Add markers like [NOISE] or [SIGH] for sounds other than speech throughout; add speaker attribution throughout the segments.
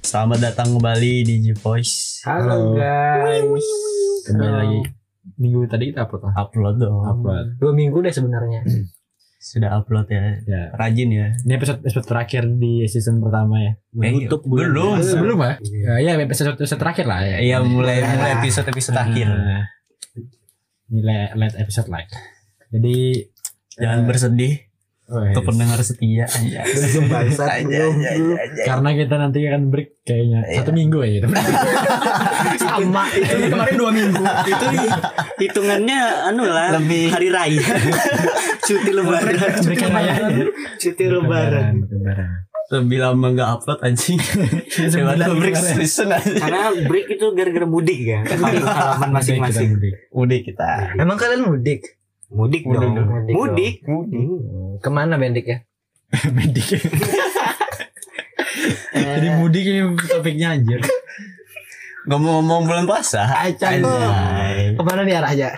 Speaker 1: Selamat datang kembali di G Voice.
Speaker 2: Halo
Speaker 3: Halo.
Speaker 2: guys.
Speaker 3: Kembali
Speaker 2: Halo.
Speaker 3: lagi. Minggu tadi kita upload lah.
Speaker 1: Upload dong.
Speaker 3: Upload.
Speaker 2: Dua minggu deh sebenarnya.
Speaker 1: Sudah upload ya.
Speaker 3: Ya.
Speaker 1: Rajin ya.
Speaker 3: Ini episode episode terakhir di season pertama ya.
Speaker 1: Menutup belum.
Speaker 3: Ah, sebelum ya?
Speaker 2: Iya.
Speaker 3: Ya, ya episode episode terakhir lah ya.
Speaker 1: Iya mulai mulai episode episode
Speaker 4: Hmm.
Speaker 3: Ah,
Speaker 1: akhir.
Speaker 3: Ini le- late episode lah. Jadi
Speaker 1: Jangan bersedih
Speaker 3: wes.
Speaker 1: untuk pendengar setia
Speaker 4: [LAUGHS]
Speaker 1: aja.
Speaker 2: Bangsat
Speaker 1: Aja
Speaker 2: belum.
Speaker 1: aja aja. aja.
Speaker 3: karena kita nanti akan break kayaknya
Speaker 1: Iya.
Speaker 3: satu minggu [LAUGHS] ya gitu.
Speaker 2: Sama itu kemarin dua minggu.
Speaker 4: itu hitungannya anu lah
Speaker 1: Lebih-
Speaker 4: hari
Speaker 1: [LAUGHS]
Speaker 4: raya cuti lebaran
Speaker 3: Break raya.
Speaker 4: cuti lebaran
Speaker 3: Lebaran.
Speaker 1: Lebih lama nggak upload anjing. Coba
Speaker 3: sebulan
Speaker 1: break
Speaker 3: kemarin.
Speaker 1: season aja.
Speaker 4: karena break itu gara-gara mudik
Speaker 2: Iya.
Speaker 4: kan Ke halaman masing-masing
Speaker 3: Break,
Speaker 1: Udah kita.
Speaker 2: Emang kalian mudik?
Speaker 3: Mudik
Speaker 4: mudik dong
Speaker 3: dong.
Speaker 2: Mudik
Speaker 4: mudik Hmm.
Speaker 2: Kemana bendik ya?
Speaker 3: kita mudik. Mudik.
Speaker 4: Eh.
Speaker 3: Jadi mudik ini topiknya anjir.
Speaker 1: Ngomong-ngomong bulan puasa.
Speaker 2: Acan.
Speaker 1: Anjay.
Speaker 2: Kemana nih arahnya?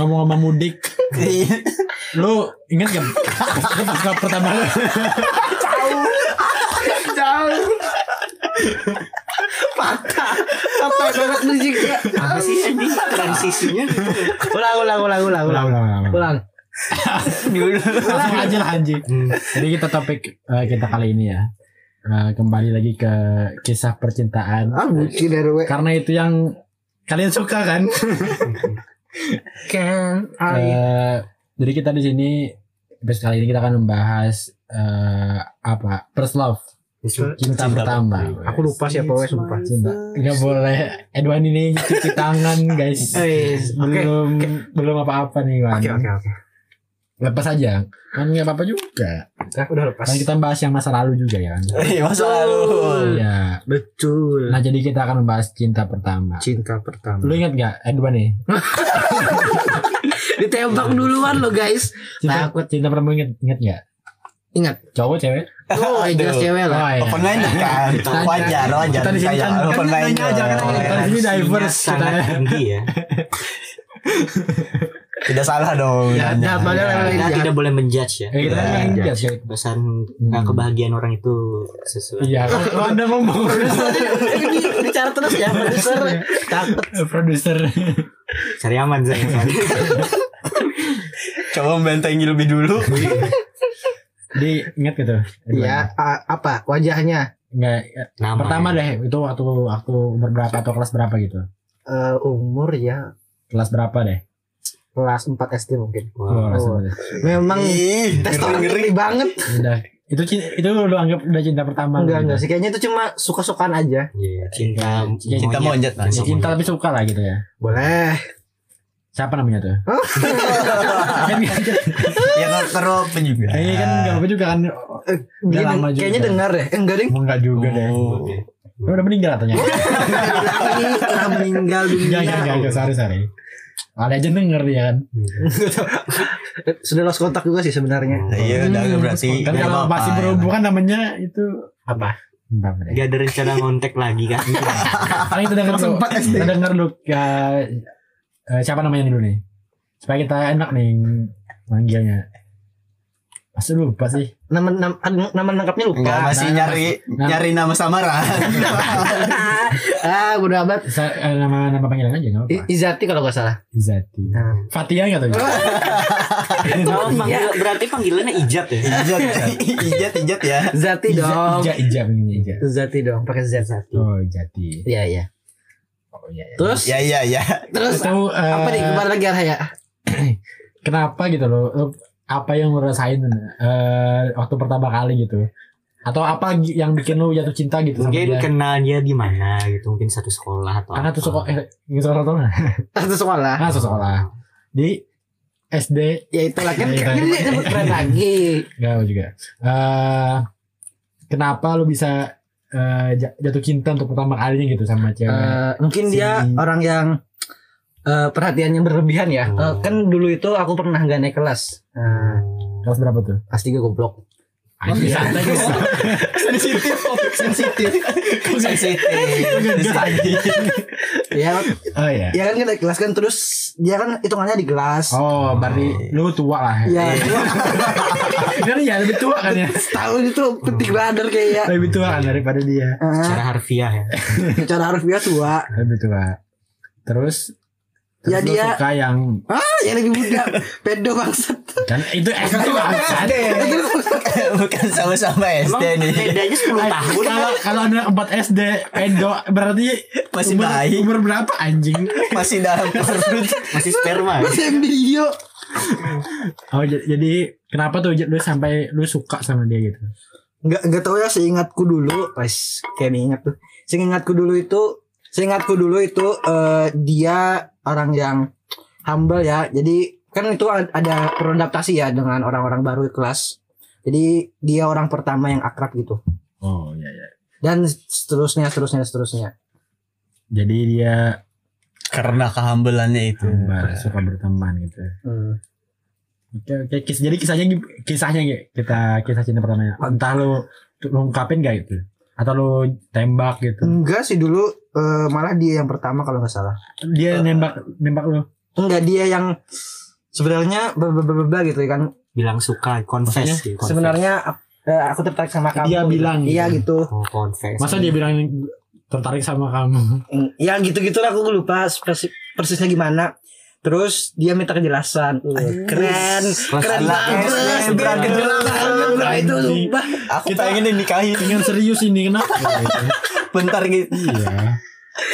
Speaker 3: Ngomong sama mudik,
Speaker 4: Iya.
Speaker 3: lu ingat [LAUGHS] gak ketika pertama lu
Speaker 2: [LAUGHS] Jauh. Patah. Patah banget lu juga.
Speaker 4: apa sih ini transisinya gitu.
Speaker 2: Ulang ulang ulang ulang ulang.
Speaker 3: ulang, ulang.
Speaker 2: Ulang.
Speaker 3: langsung aja lah anjing.
Speaker 2: Hmm.
Speaker 3: Jadi kita topik eh, kita kali ini ya. Eh, kembali lagi ke kisah percintaan.
Speaker 2: Ah bucin RW.
Speaker 3: Karena itu yang kalian suka kan?
Speaker 2: Kan. Ai.
Speaker 3: Eh, jadi kita di sini episode kali ini kita akan membahas eh, apa? First love, cinta,
Speaker 1: Cinta.
Speaker 3: pertama.
Speaker 2: Aku lupa siapa wes sumpah.
Speaker 3: Cinta. Gak boleh Edwan ini cuci tangan guys.
Speaker 2: Eh, Oke.
Speaker 3: belum belum apa-apa nih Wan.
Speaker 2: Oke oke oke.
Speaker 3: Lepas aja. Kan nggak apa-apa juga.
Speaker 2: Ah, Udah lepas.
Speaker 3: Kan kita bahas yang masa lalu juga ya.
Speaker 2: Eh.
Speaker 1: Iya masa lalu.
Speaker 3: Iya.
Speaker 2: Betul.
Speaker 3: Nah jadi kita akan membahas cinta pertama.
Speaker 2: Cinta pertama.
Speaker 3: Lu ingat gak Edwan nih?
Speaker 2: Ditembak duluan lo guys.
Speaker 3: Cinta, cinta pertama ingat ingat gak?
Speaker 2: Ingat.
Speaker 3: Cowok cewek?
Speaker 2: Oh, ya jelas
Speaker 1: Aduh.
Speaker 2: cewek lah.
Speaker 3: iya.
Speaker 1: Open minded kan. Wajar wajar.
Speaker 3: Kita di sini
Speaker 1: Saya
Speaker 3: kan- kan
Speaker 1: open Iya.
Speaker 3: nanya aja, kan nanya aja.
Speaker 1: minded.
Speaker 3: Kita di sini diverse kita.
Speaker 4: sangat tinggi ya
Speaker 1: Tidak salah dong.
Speaker 2: Jahat, jahat
Speaker 1: Nanya.
Speaker 2: padahal emang
Speaker 4: [LAUGHS] kita
Speaker 3: Iya.
Speaker 2: jahat.
Speaker 4: tidak boleh menjudge
Speaker 3: Ya,
Speaker 4: ya
Speaker 3: iya, kita kan
Speaker 1: Iya,
Speaker 3: nggak ingat ya.
Speaker 4: pesan nah, kebahagiaan orang itu sesuai
Speaker 2: [LAUGHS]
Speaker 3: Iya, kalau anda ngomong
Speaker 2: [LAUGHS] Ini bicara terus ya produser. Takut.
Speaker 3: produser.
Speaker 4: cari aman saya
Speaker 3: Iya.
Speaker 1: Coba membentengi lebih dulu.
Speaker 3: Jadi ingat gitu. Edwan?
Speaker 2: Ya a- apa wajahnya
Speaker 3: Nggak.
Speaker 4: Nama
Speaker 3: [LAUGHS] Pertama deh itu waktu aku umur berapa atau kelas berapa gitu.
Speaker 2: Eh, umur ya
Speaker 3: Kelas berapa deh?
Speaker 2: kelas 4 SD mungkin.
Speaker 3: Wah, kelas
Speaker 2: Oh.
Speaker 3: berapa deh?
Speaker 2: Memang
Speaker 1: Ih,
Speaker 2: tes orang ngeri banget.
Speaker 3: Udah. Itu cinta, itu lu anggap udah cinta pertama lu
Speaker 2: Enggak
Speaker 3: gitu?
Speaker 2: enggak sih kayaknya itu cuma suka-sukaan aja.
Speaker 4: Iya, cinta
Speaker 3: Cinta
Speaker 1: Cinta monjet
Speaker 3: Ya,
Speaker 1: mas.
Speaker 3: cinta tapi suka lah gitu ya.
Speaker 2: Boleh.
Speaker 3: Siapa namanya
Speaker 2: [LAUGHS]
Speaker 3: tuh? Kan nggak-
Speaker 1: Ya kan teropen juga.
Speaker 3: Kayaknya kan nggak apa juga kan.
Speaker 2: Dia
Speaker 3: Udah lama
Speaker 2: deng-
Speaker 3: juga.
Speaker 2: kayaknya dengar deh. Eh, enggak ding.
Speaker 3: Enggak juga deh.
Speaker 1: Oh.
Speaker 3: Lu udah meninggal katanya. Iya,
Speaker 2: Ini telah meninggal
Speaker 3: Enggak, enggak,
Speaker 4: iya.
Speaker 3: enggak, enggak, sorry, sorry. Ada aja denger dia kan.
Speaker 2: Eh, Sudah lost kontak juga sih sebenarnya.
Speaker 1: Iya udah
Speaker 3: Hmm,
Speaker 1: berarti.
Speaker 3: Kan
Speaker 1: nggak
Speaker 3: kalau
Speaker 1: apa-apa,
Speaker 3: masih
Speaker 1: ya.
Speaker 3: berhubungan namanya itu
Speaker 4: apa
Speaker 3: Entah apa deh.
Speaker 4: gak ada rencana ngontek lagi kan
Speaker 3: Karena kita denger lu, kita denger lu eh, eh, siapa namanya dulu nih? Supaya kita enak nih manggilnya. Pasti lupa sih.
Speaker 2: Nama nama nama lengkapnya lupa.
Speaker 1: Enggak masih
Speaker 3: Nah,
Speaker 1: nyari
Speaker 3: nah.
Speaker 1: nyari nama
Speaker 3: [LAUGHS]
Speaker 1: samaran.
Speaker 2: [LAUGHS] ah, udah amat.
Speaker 3: Sa- eh, nama nama panggilan aja enggak
Speaker 2: I-
Speaker 3: apa-apa.
Speaker 2: Izati kalau enggak salah.
Speaker 3: Izati. Fatia enggak tahu.
Speaker 4: [LAUGHS] Oh,
Speaker 2: Iya.
Speaker 4: panggil- berarti panggilannya ijat ya
Speaker 3: Iya.
Speaker 1: Ijat ijat ijat ya.
Speaker 2: Zati
Speaker 3: Ija,
Speaker 2: dong.
Speaker 3: Ija, Ija begini Ija.
Speaker 2: Zati dong, pakai Z Zati.
Speaker 3: Oh, Jati.
Speaker 2: Iya, iya.
Speaker 3: Oh iya. iya.
Speaker 2: Terus
Speaker 1: Ya ya [LAUGHS] ya.
Speaker 2: terus
Speaker 3: Itu eh,
Speaker 2: apa nih kemana lagi arah ya?
Speaker 3: kenapa gitu loh Lu- apa yang lu rasain eh, waktu pertama kali gitu atau apa gi- yang bikin lu jatuh cinta gitu sama
Speaker 4: mungkin
Speaker 3: dia
Speaker 4: kenalnya di mana gitu mungkin satu sekolah atau
Speaker 3: karena
Speaker 4: apa.
Speaker 3: tuh sekolah eh, gitu sekolah [LAUGHS] tuh nggak?
Speaker 2: Satu sekolah.
Speaker 3: Nah, satu sekolah di SD
Speaker 2: Ya itulah kan
Speaker 3: Iya,
Speaker 2: kan
Speaker 3: iya.
Speaker 2: dia sebut keren lagi.
Speaker 3: nggak tahu juga Eh, kenapa lu bisa eh, ja- jatuh cinta untuk pertama kalinya gitu sama cewek
Speaker 2: Eh, mungkin dia
Speaker 3: Si-
Speaker 2: orang yang eh, perhatiannya berlebihan ya. Eh,
Speaker 4: Oh.
Speaker 2: kan dulu itu aku pernah gak naik kelas. Eh,
Speaker 3: kelas berapa tuh
Speaker 2: kelas 3 goblok.
Speaker 3: Anjir, santai guys. [LAUGHS]
Speaker 1: Sensitif
Speaker 2: [LAUGHS]
Speaker 1: sensitif. Sensitif.
Speaker 2: ya,
Speaker 3: oh ya
Speaker 2: ya kan gak naik kelas kan terus dia kan hitungannya di kelas.
Speaker 3: Iya. oh berarti lu tua lah
Speaker 2: Ya,
Speaker 3: kan ya lebih tua kan ya.
Speaker 2: Setahun itu petik radar kayak ya.
Speaker 3: Lebih tua kan daripada dia.
Speaker 2: Ah,
Speaker 1: Secara harfiah ya.
Speaker 2: Secara harfiah tua
Speaker 3: Lebih tua. Terus
Speaker 2: Ya,
Speaker 3: terus lu
Speaker 2: dia-
Speaker 3: suka yang
Speaker 2: Ah yang lebih muda Pedo bangsat
Speaker 3: kan itu SD bangsat.
Speaker 1: Bukan sama-sama SD
Speaker 4: Emang
Speaker 1: nih.
Speaker 4: bedanya 10 tahun
Speaker 3: Eh, Kalau kalau anak 4 SD pedo berarti
Speaker 1: [LAUGHS] Masih
Speaker 3: umur-
Speaker 1: bayi.
Speaker 3: Umur berapa anjing?
Speaker 1: Masih dalam
Speaker 3: [LAUGHS]
Speaker 1: perut.
Speaker 4: masih sperma. ya?
Speaker 2: Mas embrio
Speaker 3: Oh j- jadi kenapa tuh Jet, lu sampai lu suka sama dia gitu?
Speaker 2: Nggak, nggak tahu ya seingatku dulu Pas kayak diingat tuh Seingatku dulu itu Seingatku dulu itu eh, Dia orang yang humble ya Jadi kan itu ad- ada beradaptasi ya Dengan orang-orang baru di kelas Jadi dia orang pertama yang akrab gitu
Speaker 3: Oh iya iya.
Speaker 2: Dan seterusnya seterusnya seterusnya
Speaker 3: Jadi dia
Speaker 1: Karena kehambelannya itu.
Speaker 3: tambah suka berteman gitu.
Speaker 2: Hmm.
Speaker 3: Oke oke Kis- jadi kisahnya gi- kisahnya gitu kita kisah cinta pertamanya. Entah lu lu ungkapin gak gitu? Atau lu tembak gitu?
Speaker 2: Enggak sih dulu eh, malah dia yang pertama kalau nggak salah.
Speaker 3: Dia nembak nembak lu.
Speaker 2: Enggak dia yang sebenarnya berbeda gitu kan.
Speaker 4: Bilang suka, confess. gitu, confess.
Speaker 2: Sebenarnya ak- eh, aku tertarik sama kamu.
Speaker 3: Dia bilang
Speaker 2: Iya gitu.
Speaker 4: Oh, confess.
Speaker 3: Masa dia bilang tertarik sama kamu?
Speaker 2: Mm, Ya gitu gitulah aku lupa persis- persisnya gimana. Terus dia minta kejelasan. Uh, keren.
Speaker 4: Kelas
Speaker 1: anak
Speaker 2: Keren
Speaker 1: SD,
Speaker 2: banget. Keren
Speaker 1: berarti
Speaker 2: banget,
Speaker 1: keren.
Speaker 2: bro, itu
Speaker 3: Anjing.
Speaker 2: sumpah.
Speaker 1: Aku
Speaker 3: Kita-
Speaker 1: pengen nikahin
Speaker 3: Pengen serius ini kenapa? gitu?
Speaker 1: bentar gitu.
Speaker 3: Iya.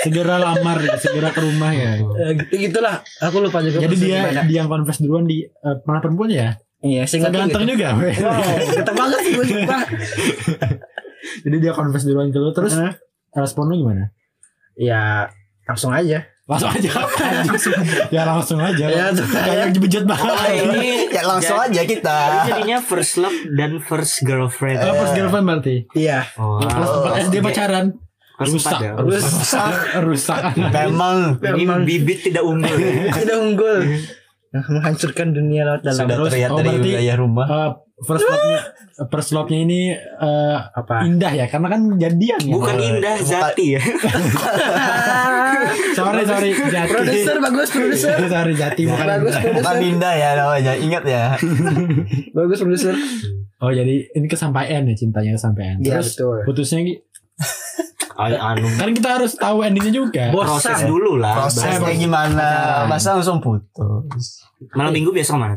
Speaker 3: Segera lamar, segera ke rumah ya.
Speaker 2: Eh, gitu gitulah. Aku lupa juga.
Speaker 3: Jadi
Speaker 2: persisnya
Speaker 3: dia
Speaker 2: gimana.
Speaker 3: dia yang confess duluan di eh, mana perempuan ya?
Speaker 2: Iya, singkat
Speaker 3: Ganteng juga. weh.
Speaker 2: Wow, ganteng Oh, banget sih gue sumpah.
Speaker 3: [LAUGHS] Jadi dia confess duluan ke lu terus
Speaker 2: Heeh.
Speaker 3: respon lu gimana?
Speaker 2: ya langsung aja.
Speaker 3: Langsung aja. [LAUGHS] ya langsung aja.
Speaker 2: Ya, langsung aja.
Speaker 3: Kayak bejat
Speaker 4: Oh,
Speaker 3: banget.
Speaker 4: ini
Speaker 1: [LAUGHS] Ya langsung
Speaker 4: jadi-
Speaker 1: aja kita.
Speaker 4: Jadi jadinya first love dan first girlfriend.
Speaker 3: Oh, first girlfriend berarti.
Speaker 2: Iya.
Speaker 4: Oh,
Speaker 3: Kelas empat SD pacaran.
Speaker 4: Kelas empat
Speaker 3: Rusak,
Speaker 4: ya.
Speaker 3: [LAUGHS] rusak, rusak.
Speaker 1: Memang
Speaker 4: Ini
Speaker 3: [LAUGHS]
Speaker 4: bibit tidak unggul.
Speaker 2: Tidak unggul. Nah, menghancurkan dunia lewat dalam.
Speaker 1: sudah
Speaker 3: terus,
Speaker 1: terlihat
Speaker 3: oh,
Speaker 1: dari
Speaker 3: berarti-
Speaker 1: wilayah rumah.
Speaker 3: Eh, first love-nya first love-nya ini eh,
Speaker 2: Apa?
Speaker 3: indah ya karena kan jadian ya.
Speaker 4: Bukan indah zati ya.
Speaker 3: Sorry, sorry. Jati.
Speaker 2: [LAUGHS] Produser bagus, produser.
Speaker 3: sorry, jati bukan
Speaker 2: bagus
Speaker 3: indah.
Speaker 1: Bukan
Speaker 2: produser.
Speaker 1: indah ya namanya. Ingat ya.
Speaker 2: Bagus produser.
Speaker 3: Oh, jadi ini kesampaian ya cintanya kesampaian.
Speaker 2: Iya,
Speaker 3: Terus
Speaker 2: betul.
Speaker 3: putusnya Gi.
Speaker 4: Ay, anu.
Speaker 3: kan kita harus tahu endingnya juga.
Speaker 4: Proses dulu lah.
Speaker 1: Prosesnya
Speaker 4: Bahas-
Speaker 1: gimana?
Speaker 3: Pacaran.
Speaker 1: Masa langsung putus.
Speaker 4: Malam minggu biasa kemana?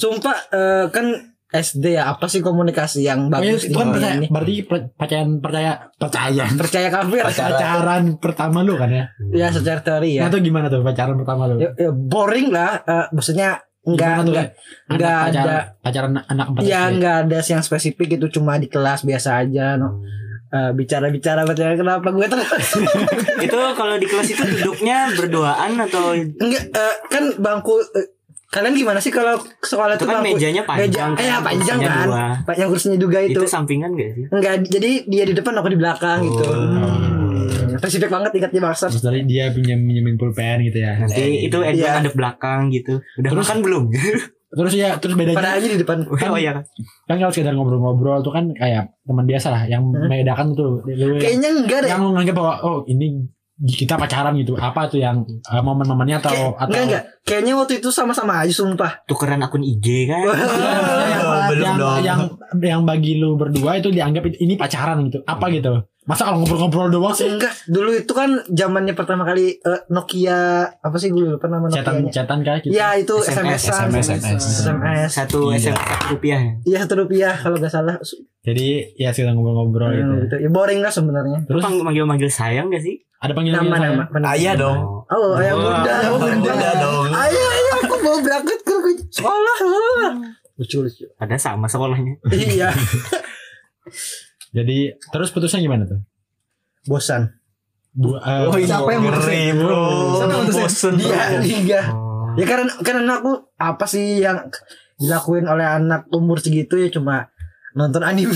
Speaker 2: Sumpah eh, kan SD ya apa sih komunikasi yang
Speaker 3: Oh, iya,
Speaker 2: bagus
Speaker 3: itu kan
Speaker 2: dunia
Speaker 3: percaya,
Speaker 2: ini?
Speaker 3: berarti per- percayaan percaya percaya
Speaker 2: Percaya kafir.
Speaker 1: Pacaran.
Speaker 3: pacaran pertama lu kan ya?
Speaker 2: Ya
Speaker 4: Hmm.
Speaker 2: secara teori ya.
Speaker 3: Nah, itu gimana tuh pacaran pertama lu?
Speaker 2: Ya, ya, boring lah. eh, maksudnya enggak
Speaker 3: Gimana tuh,
Speaker 2: enggak
Speaker 3: Anak
Speaker 2: enggak
Speaker 3: pacaran,
Speaker 2: ada
Speaker 3: pacaran anak empat
Speaker 2: ya
Speaker 3: SD.
Speaker 2: enggak ada yang spesifik itu cuma di kelas biasa aja no. Eh, bicara-bicara bicara kenapa gue terus [LAUGHS]
Speaker 4: itu kalau di kelas itu duduknya berduaan atau itu
Speaker 2: Enggak, eh, kan bangku eh, kalian gimana sih kalau sekolah itu
Speaker 4: kan
Speaker 2: bangku
Speaker 4: mejanya panjang.
Speaker 2: meja, eh, ya, panjang
Speaker 4: kursinya
Speaker 2: kan
Speaker 4: dua.
Speaker 2: panjang kursinya juga
Speaker 4: Itu.
Speaker 2: itu,
Speaker 4: sampingan gak sih?
Speaker 2: enggak jadi dia di depan aku di belakang gitu
Speaker 3: Hmm.
Speaker 2: spesifik banget ingatnya maksud
Speaker 3: Terus dari dia pinjam pinjamin pulpen gitu ya.
Speaker 4: Nanti
Speaker 1: Eh,
Speaker 4: itu Edwin
Speaker 2: iya.
Speaker 4: ada belakang gitu. Udah
Speaker 3: Terus-
Speaker 4: makan belum? [LAUGHS]
Speaker 3: Terus ya terus bedanya
Speaker 2: padahal aja di depan
Speaker 4: oh iya kan.
Speaker 3: kan kalau sekedar ngobrol-ngobrol tuh kan kayak teman biasa lah yang
Speaker 2: Hmm.
Speaker 3: membedakan tuh lu yang,
Speaker 2: kayaknya enggak deh
Speaker 3: yang lu nganggap bahwa oh ini kita pacaran gitu apa tuh yang eh, momen-momennya
Speaker 2: Kayak-
Speaker 3: atau atau
Speaker 2: enggak enggak kayaknya waktu itu sama-sama aja sumpah
Speaker 4: Tukeran akun IG kan.
Speaker 3: iya,
Speaker 1: Oh, belum
Speaker 3: yang,
Speaker 1: dong.
Speaker 3: yang yang bagi lu berdua itu dianggap ini pacaran gitu. Apa gitu? Masa kalau ngobrol-ngobrol doang sih?
Speaker 2: enggak dulu itu kan zamannya pertama kali eh, Nokia apa sih gue lupa nama
Speaker 3: Cetan
Speaker 2: Nokia
Speaker 3: cetan kayak gitu.
Speaker 2: ya itu
Speaker 4: SMS,
Speaker 2: SMS
Speaker 1: SMS.
Speaker 2: SMS
Speaker 4: Satu
Speaker 1: Iya.
Speaker 4: SM satu rupiah ya.
Speaker 2: Iya satu rupiah kalau nggak salah
Speaker 3: Jadi ya sekedar ngobrol-ngobrol gitu.
Speaker 2: Hmm, gitu. Ya, boring lah sebenarnya
Speaker 3: Terus
Speaker 4: Pang- manggil-manggil sayang gak sih?
Speaker 3: ada panggilan
Speaker 2: nama-nama nama.
Speaker 1: Ayah dong.
Speaker 2: Oh, ayah
Speaker 4: Wah,
Speaker 2: bunda, ayah
Speaker 1: ayah
Speaker 2: bunda.
Speaker 1: bunda dong.
Speaker 2: Ayah, ayah, aku mau berangkat ke sekolah. Lucu, lucu.
Speaker 4: Ada sama sekolahnya.
Speaker 2: Iya.
Speaker 3: Jadi terus putusnya gimana tuh?
Speaker 2: Bosan.
Speaker 3: Bu, eh,
Speaker 1: Oh,
Speaker 2: Siapa yang
Speaker 1: ngeri
Speaker 3: mutusin?
Speaker 1: bro.
Speaker 3: Siapa yang mutusin?
Speaker 1: Bosen bro.
Speaker 2: Iya, iya.
Speaker 4: Oh.
Speaker 2: Ya karena karena aku apa sih yang dilakuin oleh anak umur segitu ya cuma nonton anime.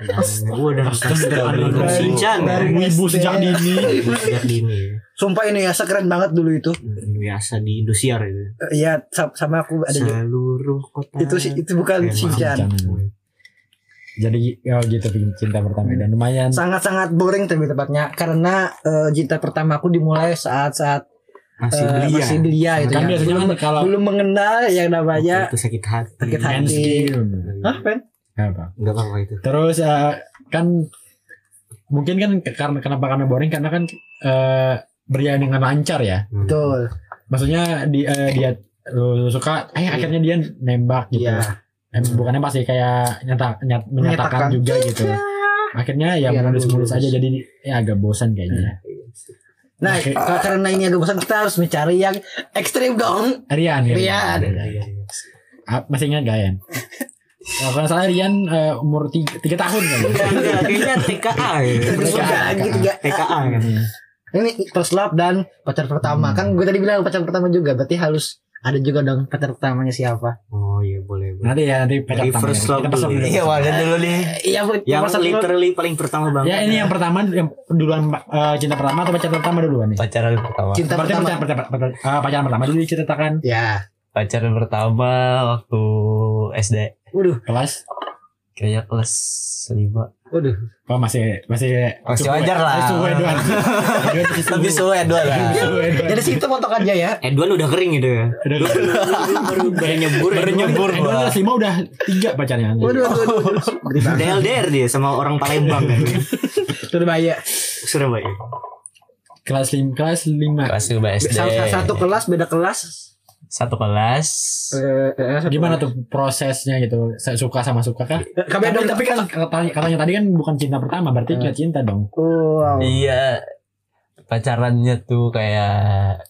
Speaker 4: Ya Wah, dan
Speaker 1: Astaga.
Speaker 4: Shinchan.
Speaker 3: Dari wibu sejak dini.
Speaker 4: Sejak dini.
Speaker 2: Sumpah ini ya sekeren banget dulu itu.
Speaker 4: Biasa di Indosiar itu.
Speaker 2: Eh, Iya, sa- sama aku ada juga.
Speaker 4: Seluruh kota.
Speaker 2: Itu sih itu kan bukan
Speaker 4: Emang.
Speaker 2: Shinchan.
Speaker 3: Jadi oh gitu bikin cinta pertama
Speaker 2: Hmm.
Speaker 3: dan lumayan
Speaker 2: Sangat-sangat boring tapi tepatnya karena eh, cinta pertamaku dimulai saat-saat masih belia, masih belia gitu
Speaker 3: Kan
Speaker 2: ya.
Speaker 3: biasanya
Speaker 2: belum,
Speaker 3: kan kalau
Speaker 2: belum mengenal yang namanya
Speaker 4: itu sakit hati
Speaker 2: sakit hati.
Speaker 3: Men's game.
Speaker 2: Hah, Pen?
Speaker 3: Nggak apa.
Speaker 4: nggak apa-apa itu
Speaker 3: Ya, Terus eh, kan mungkin kan ke- karena kenapa karena boring karena kan eh berjalan dengan lancar ya.
Speaker 2: Betul.
Speaker 3: Maksudnya di, eh, dia lu suka eh akhirnya dia nembak gitu.
Speaker 2: Iya.
Speaker 3: Eh, bukan nembak sih kayak nyata, nyat- menyatakan
Speaker 2: Menyatakan.
Speaker 3: juga gitu. Akhirnya ya
Speaker 2: Iya,
Speaker 3: mulus-mulus
Speaker 2: mulus.
Speaker 3: aja jadi ya agak bosan kayaknya.
Speaker 2: Nah,
Speaker 3: Oke.
Speaker 2: k- karena ini agak bosan kita harus mencari yang ekstrim dong.
Speaker 3: Rian ya.
Speaker 2: Rian.
Speaker 3: Masih ingat gak
Speaker 4: [LAUGHS]
Speaker 3: Rian? Nah, kalau nggak salah Rian eh, umur tiga, tiga tahun kan. ya?
Speaker 4: Enggak, kayaknya TKA ya.
Speaker 2: Bersukaan
Speaker 3: TKA.
Speaker 2: gitu ya.
Speaker 4: TKA kan.
Speaker 2: Ini first love dan pacar pertama.
Speaker 3: Hmm.
Speaker 2: Kan gue tadi bilang pacar pertama juga, berarti harus ada juga dong pacar pertamanya siapa?
Speaker 4: Oh iya boleh boleh.
Speaker 3: Nanti ya nanti pacar
Speaker 4: Jadi
Speaker 3: pertama
Speaker 4: first
Speaker 3: ya.
Speaker 4: love
Speaker 3: Kita pas
Speaker 4: dulu.
Speaker 3: dulu.
Speaker 1: Iya, wadah dulu nih.
Speaker 2: Iya, Bu.
Speaker 4: Yang
Speaker 2: Nomor satu dulu.
Speaker 4: literally paling pertama banget.
Speaker 3: Ya ini yang pertama yang duluan eh, cinta pertama atau pacar pertama duluan nih?
Speaker 1: Pacaran pertama.
Speaker 2: cinta
Speaker 3: Berarti
Speaker 2: pertama.
Speaker 3: pacaran, pacaran, pacaran, eh, pacaran pertama dulu diceritakan
Speaker 2: Ya.
Speaker 1: Pacaran pertama waktu SD.
Speaker 2: Waduh,
Speaker 3: kelas
Speaker 1: Kayaknya kelas lima.
Speaker 2: waduh.
Speaker 3: oh, masih masih
Speaker 1: Masih
Speaker 3: cukup, ya?
Speaker 1: wajar lah.
Speaker 3: masih suwe
Speaker 1: [LAUGHS]
Speaker 3: doang. Dua masih suwe.
Speaker 1: Lebih suwe dua lah.
Speaker 3: Masih suwe doang.
Speaker 2: Jadi situ potong aja ya.
Speaker 4: Edwan udah kering gitu ya.
Speaker 3: Udah
Speaker 4: Lu baru baru baru nyebur. ya,
Speaker 1: Baru
Speaker 4: Edwan.
Speaker 1: nyebur
Speaker 3: Edward
Speaker 1: gua.
Speaker 3: kelas lima udah tiga pacarnya.
Speaker 2: Waduh, waduh, waduh.
Speaker 4: Udah LDR dia sama orang Palembang kan.
Speaker 2: Itu udah bahaya.
Speaker 4: Surabaya.
Speaker 3: Kelas lima kelas lima.
Speaker 1: Kelas lima SD.
Speaker 2: Satu, satu kelas beda kelas.
Speaker 1: Satu kelas.
Speaker 2: Eh, eh, satu
Speaker 3: Gimana tuh prosesnya gitu? Saya Suka sama suka kah?
Speaker 2: Eh, Kami
Speaker 3: Tapi,
Speaker 2: ada
Speaker 3: tapi kan katanya, katanya tadi kan bukan cinta pertama, berarti nggak cinta dong.
Speaker 2: Wow.
Speaker 1: Iya. Pacarannya tuh kayak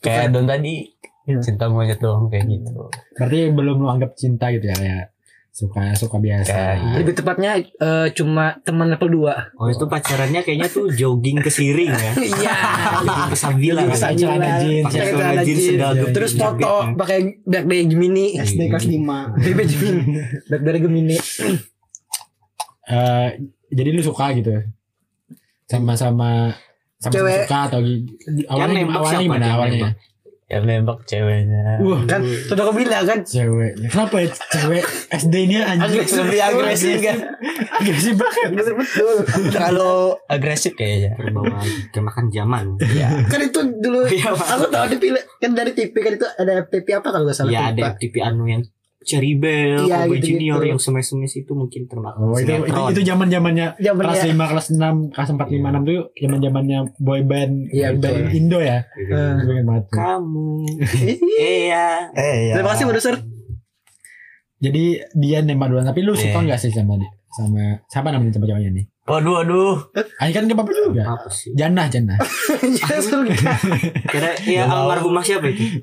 Speaker 1: kayak Don tadi.
Speaker 2: Iya.
Speaker 1: Cinta monyet doang kayak gitu.
Speaker 3: Berarti belum lu anggap cinta gitu ya kayak suka suka biasa.
Speaker 1: Kayak iya.
Speaker 2: Lebih tepatnya eh, cuma teman level 2.
Speaker 4: Oh itu pacarannya kayaknya tuh jogging ke Siring ya.
Speaker 2: Iya.
Speaker 4: Jogging ke Sambilan.
Speaker 3: Jogging ke
Speaker 4: ya.
Speaker 3: Sambilan. celana jeans,
Speaker 4: Pakai
Speaker 2: pakai
Speaker 4: celana jeans,
Speaker 2: celana jeans.
Speaker 4: sedang
Speaker 2: Terus foto pakai back dari Gemini.
Speaker 4: SD kelas
Speaker 2: 5. BB Gemini. Back dari Gemini.
Speaker 3: Eh, jadi lu suka gitu sama-sama sama-sama
Speaker 2: Cewek.
Speaker 3: suka atau gi- awalnya
Speaker 4: Yang nembak
Speaker 3: awalnya
Speaker 4: siapa?
Speaker 3: gimana
Speaker 4: Yang
Speaker 3: awalnya
Speaker 4: nembak.
Speaker 1: Ya nembak ceweknya.
Speaker 3: wah
Speaker 2: Kan sudah aku bilang kan
Speaker 3: cewek kenapa ya cewek SD nya ya, anjing
Speaker 1: Agresif, lebih agresif kan.
Speaker 3: agresif banget
Speaker 2: betul.
Speaker 1: Terlalu agresif kayaknya.
Speaker 4: Terbawa kemakan zaman.
Speaker 2: Kan itu dulu
Speaker 4: Iya, Pak.
Speaker 2: aku tahu dipilih kan dari TV kan itu ada FTP apa kalau nggak salah
Speaker 4: Ya
Speaker 2: lupa.
Speaker 4: ada FTP anu yang Cherry Bell,
Speaker 2: Iya,
Speaker 4: Kobe
Speaker 2: gitu-gitu.
Speaker 4: Junior yang semes-semes itu mungkin termasuk
Speaker 3: oh itu itu, itu zaman zamannya
Speaker 2: Zamannya-
Speaker 3: kelas lima kelas enam kelas empat lima enam tuh zaman zamannya boy band
Speaker 2: Iya,
Speaker 3: boy band
Speaker 2: betul.
Speaker 3: Indo ya
Speaker 2: Eh.
Speaker 3: [LAUGHS] Gue ingat banget.
Speaker 4: kamu. Iya.
Speaker 1: Eh,
Speaker 2: Terima kasih produser.
Speaker 3: jadi dia nembak duluan tapi lu suka
Speaker 1: Iya.
Speaker 3: nggak sih sama dia sama siapa namanya sama ceweknya nih
Speaker 1: Waduh, waduh.
Speaker 3: Ayo kan dia bapak juga
Speaker 4: Apa sih?
Speaker 3: Jannah Jannah
Speaker 2: [LAUGHS] Ya surga.
Speaker 4: Kira ya
Speaker 1: Gak mau.
Speaker 4: almarhumah siapa itu?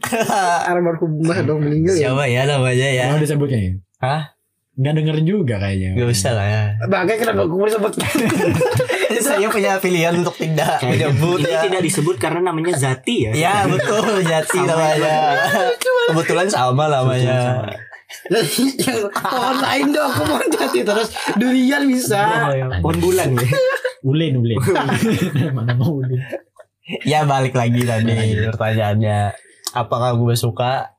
Speaker 2: Almarhumah dong meninggal ya.
Speaker 1: Siapa ya namanya ya?
Speaker 3: mau disebut kayaknya
Speaker 1: Hah?
Speaker 3: nggak dengerin juga kayaknya
Speaker 1: Gak usah lah. ya.
Speaker 2: Bagai kenapa gue sebut
Speaker 1: [LAUGHS]
Speaker 2: [LAUGHS]
Speaker 1: Saya punya pilihan untuk tidak
Speaker 4: Kayaknya
Speaker 1: menyebut
Speaker 4: Ini
Speaker 1: ya.
Speaker 4: tidak disebut karena namanya Zati ya.
Speaker 1: Ya betul Jati
Speaker 4: Sama
Speaker 1: namanya. Kebetulan sama namanya.
Speaker 4: Sama.
Speaker 2: Yang pohon lain dong aku mau jati terus durian bisa
Speaker 4: Pohon bulan ya.
Speaker 3: Ulin
Speaker 1: [LAUGHS]
Speaker 3: Ulin mana mau Ulin
Speaker 1: Ya balik lagi tadi pertanyaannya. Apakah gue suka?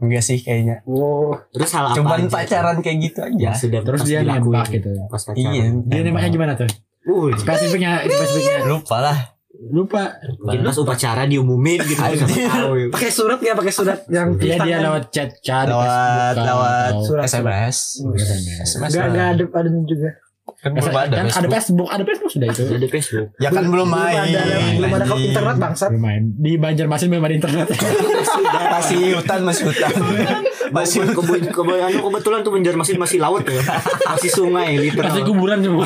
Speaker 1: Enggak sih kayaknya.
Speaker 2: wow
Speaker 4: Terus hal apa?
Speaker 1: Cuman
Speaker 4: aja
Speaker 1: pacaran kayak gitu
Speaker 4: tuh
Speaker 1: aja.
Speaker 4: yang sudah
Speaker 3: Terus
Speaker 4: pas
Speaker 3: dia
Speaker 4: dilakuin
Speaker 3: nembak gitu.
Speaker 4: Pas pacaran.
Speaker 1: Iya.
Speaker 3: dia nembaknya gimana tuh
Speaker 4: Uh,
Speaker 3: spesifiknya spesifiknya
Speaker 1: Lupa lah.
Speaker 3: lupa
Speaker 4: mungkin pas upacara diumumin gitu. Siapa
Speaker 1: Anjir.
Speaker 4: tahu ya.
Speaker 2: pakai surat ya pakai surat yang
Speaker 3: Iya, dia dia
Speaker 2: tangan.
Speaker 3: lewat chat chat
Speaker 1: Iya. Lewat lewat
Speaker 2: Surat-
Speaker 1: SMS.
Speaker 3: SMS.
Speaker 1: SMS.
Speaker 2: Gak, gak
Speaker 1: lah.
Speaker 2: ada ada juga
Speaker 1: Kan belum ada.
Speaker 3: kan ada
Speaker 1: Facebook.
Speaker 3: Facebook ada Facebook sudah itu
Speaker 4: Ada Facebook.
Speaker 1: Ya kan belum main.
Speaker 2: ada, belum ada
Speaker 1: anjing.
Speaker 2: internet bangsat
Speaker 3: lumayan di Banjarmasin memang ada internet
Speaker 1: Masih hutan, masih hutan. Masih
Speaker 4: Masih
Speaker 1: hutan.
Speaker 4: kebun kebun anu kebetulan tuh Banjar masih masih laut ya. Masih sungai
Speaker 3: pasti
Speaker 4: literal.
Speaker 3: kuburan semua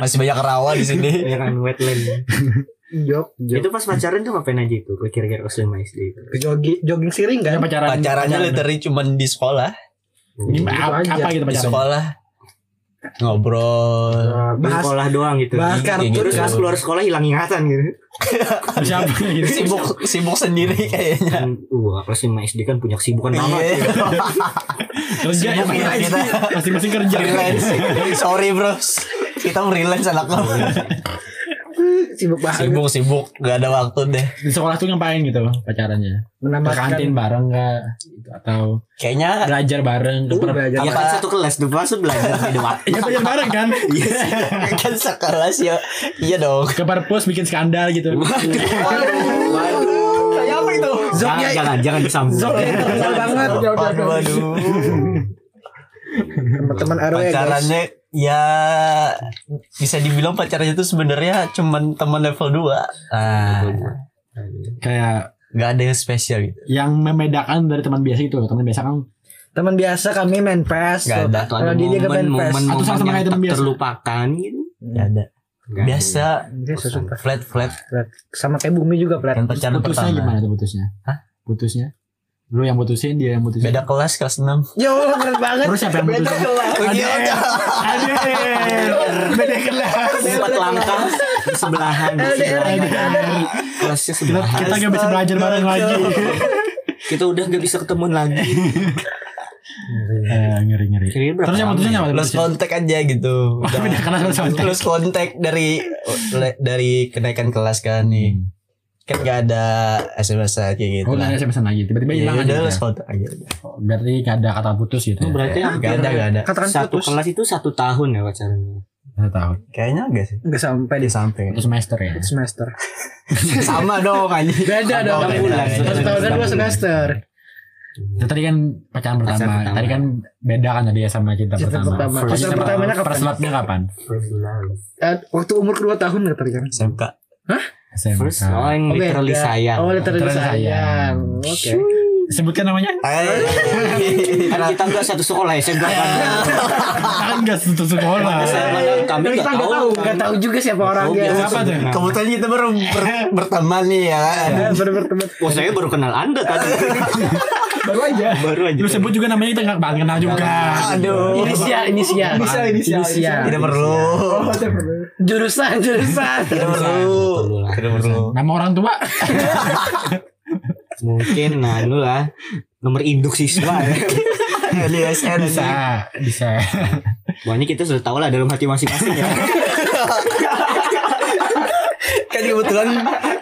Speaker 1: Masih banyak rawa di sini.
Speaker 4: Ya kan wetland.
Speaker 2: jog jog
Speaker 4: Itu pas pacaran tuh ngapain aja itu? Kira-kira kelas lima SD itu.
Speaker 2: jogging jogging siring
Speaker 3: Ada
Speaker 2: kan
Speaker 3: pacaran
Speaker 1: Pacarannya literally cuman di sekolah.
Speaker 3: Gimana?
Speaker 2: Gitu aja.
Speaker 3: apa gitu
Speaker 1: Di
Speaker 3: pacaran
Speaker 1: sekolah. [LAUGHS] Ngobrol.
Speaker 2: Nah,
Speaker 4: Di
Speaker 2: bahas
Speaker 4: sekolah doang gitu.
Speaker 2: bahas
Speaker 1: Iya,
Speaker 2: kartu
Speaker 1: gitu.
Speaker 4: Terus pas keluar sekolah hilang ingatan gitu.
Speaker 3: [LAUGHS] siapa gitu
Speaker 1: Sibuk sibuk sendiri kayaknya.
Speaker 4: Kan, Wah, kelas lima SD kan punya kesibukan banget.
Speaker 1: Iya.
Speaker 3: kerja ya
Speaker 1: Sibuk ya, kita.
Speaker 3: masing-masing kerja
Speaker 1: freelance. Sorry bros. Kita freelance anak lo.
Speaker 2: sibuk banget
Speaker 1: Sibuk sibuk gak ada waktu deh.
Speaker 3: di sekolah tuh ngapain gitu pacarannya ke kantin
Speaker 2: menambahkan
Speaker 3: bareng nggak Gitu, atau
Speaker 1: Kayaknya
Speaker 3: belajar bareng ke per-
Speaker 2: belajar
Speaker 4: Ya
Speaker 1: Apa-
Speaker 4: kan satu kelas tuh pas belajar beda waktu.
Speaker 3: ya belajar bareng kan
Speaker 1: kan sekelas ya. Iya dong.
Speaker 3: ke perpus bikin skandal gitu
Speaker 4: Waduh, waduh.
Speaker 2: Zoknya
Speaker 4: Jangan, jangan, jangan disambung.
Speaker 2: Zoknya internal banget.
Speaker 3: Udah, udah, udah.
Speaker 1: Waduh.
Speaker 2: Teman-teman RW guys.
Speaker 1: Pacarannya ya bisa dibilang pacarannya itu sebenarnya cuman teman level 2. Ah,
Speaker 3: Kayak
Speaker 1: nggak ada yang spesial gitu.
Speaker 3: yang membedakan dari teman biasa itu, teman biasa kan
Speaker 2: Teman biasa kami main PES.
Speaker 1: Nggak ada.
Speaker 4: Atau ada
Speaker 2: Kalau dia dia ke
Speaker 4: momen-momen
Speaker 2: Benfest.
Speaker 4: momen
Speaker 3: Atau sama-sama kayak
Speaker 4: yang
Speaker 3: teman
Speaker 4: tak
Speaker 3: biasa.
Speaker 4: terlupakan gitu.
Speaker 1: Nggak ada. Biasa
Speaker 2: Dia sesuka.
Speaker 1: flat flat
Speaker 2: Sama kayak Bumi juga, Plat.
Speaker 1: yang pacaran
Speaker 3: putusnya
Speaker 1: pertama.
Speaker 3: gimana tuh putusnya?
Speaker 1: Hah?
Speaker 3: Putusnya? Lu yang putusin, dia yang putusin.
Speaker 1: Beda kelas kelas
Speaker 3: [LAUGHS]
Speaker 1: 6.
Speaker 2: Ya Allah, berat banget.
Speaker 3: Terus siapa yang
Speaker 2: Beda
Speaker 3: putusin?
Speaker 2: kelas.
Speaker 3: Aduh, beda kelas.
Speaker 4: Empat langkah
Speaker 2: [LAUGHS]
Speaker 4: sebelahan.
Speaker 2: LDR.
Speaker 4: Kelasnya
Speaker 3: Kita
Speaker 4: sebelahan.
Speaker 3: kita nggak bisa belajar bareng lagi.
Speaker 4: Kita udah nggak bisa ketemuan lagi.
Speaker 3: Eh, Ngeri ngeri.
Speaker 4: Kira-kira berapa
Speaker 3: Terus yang
Speaker 4: lama
Speaker 3: putusnya
Speaker 4: ya?
Speaker 3: nggak
Speaker 1: Lost
Speaker 3: putusin?
Speaker 1: kontak aja gitu. Udah.
Speaker 3: [LAUGHS] Beda kelas sama sama.
Speaker 1: Terus kontak dari dari kenaikan kelas kan nih. Kan gak ada SMS -an kayak gitu.
Speaker 3: Oh, nggak ada SMS-an lagi. Tiba-tiba
Speaker 1: Ya
Speaker 3: hilang
Speaker 1: udah
Speaker 3: aja. gitu
Speaker 1: lost kontak aja.
Speaker 3: Berarti nggak ada kata putus gitu.
Speaker 4: Itu
Speaker 3: ya?
Speaker 4: berarti
Speaker 1: Gak
Speaker 4: hampir
Speaker 1: ada gak ada.
Speaker 2: Katakan
Speaker 4: satu
Speaker 2: putus.
Speaker 4: kelas itu satu tahun ya pacarannya.
Speaker 3: Satu tahun.
Speaker 1: Kayaknya enggak sih.
Speaker 2: Enggak sampai
Speaker 1: Tadi
Speaker 2: deh.
Speaker 1: sampai.
Speaker 3: Satu semester ya.
Speaker 2: Semester.
Speaker 1: [LAUGHS] Sama dong anjing.
Speaker 2: Beda
Speaker 1: Sama
Speaker 2: dong.
Speaker 1: dong, beda,
Speaker 4: bulan.
Speaker 2: Satu
Speaker 1: beda.
Speaker 2: tahun kan dua semester.
Speaker 3: Itu tadi kan pacaran pertama.
Speaker 4: pertama.
Speaker 3: Tadi kan beda kan tadi ya sama cinta,
Speaker 2: Cinta pertama.
Speaker 3: pertama.
Speaker 2: Cinta pertamanya kapan?
Speaker 3: First love-nya kapan?
Speaker 4: First love.
Speaker 2: Eh, Waktu umur kedua tahun nggak tadi kan?
Speaker 1: SMK.
Speaker 3: SMA.
Speaker 4: First oh, yang
Speaker 2: Oh, beda.
Speaker 4: literally sayang.
Speaker 2: Oh, literally
Speaker 3: Literally
Speaker 2: sayang.
Speaker 3: sayang.
Speaker 2: Oke.
Speaker 3: Sebutkan namanya?
Speaker 4: Kan kita nggak satu sekolah ya, SMK kan.
Speaker 2: Iya,
Speaker 3: Kan nggak sentuh sekolah.
Speaker 4: Saya- Kami nggak
Speaker 2: Kita nggak
Speaker 4: tahu.
Speaker 2: tahu, nggak tahu juga siapa
Speaker 4: Oh,
Speaker 2: [LAUGHS] orangnya.
Speaker 3: Siapa tuh?
Speaker 1: Kebetulan kita baru ber- berteman nih ya.
Speaker 2: Ya, Bener-bener teman.
Speaker 4: Oh, saya baru kenal Anda
Speaker 2: [LAUGHS]
Speaker 4: tadi.
Speaker 3: Baru aja.
Speaker 4: baru aja.
Speaker 3: Lu sebut juga namanya kita nggak bakal kenal juga.
Speaker 1: Aduh.
Speaker 2: Inisial, inisial.
Speaker 3: Inisial, inisial,
Speaker 2: Inisial.
Speaker 1: Tidak perlu.
Speaker 2: Jurusan, jurusan.
Speaker 1: Tidak perlu. Tidak perlu.
Speaker 3: Nama orang tua.
Speaker 4: Mungkin nah lu lah nomor induk siswa ya.
Speaker 3: [LAUGHS]
Speaker 1: Di SN
Speaker 3: Bisa, bisa.
Speaker 4: Pokoknya kita sudah tahu lah dalam hati masing-masing ya.
Speaker 1: Kan kebetulan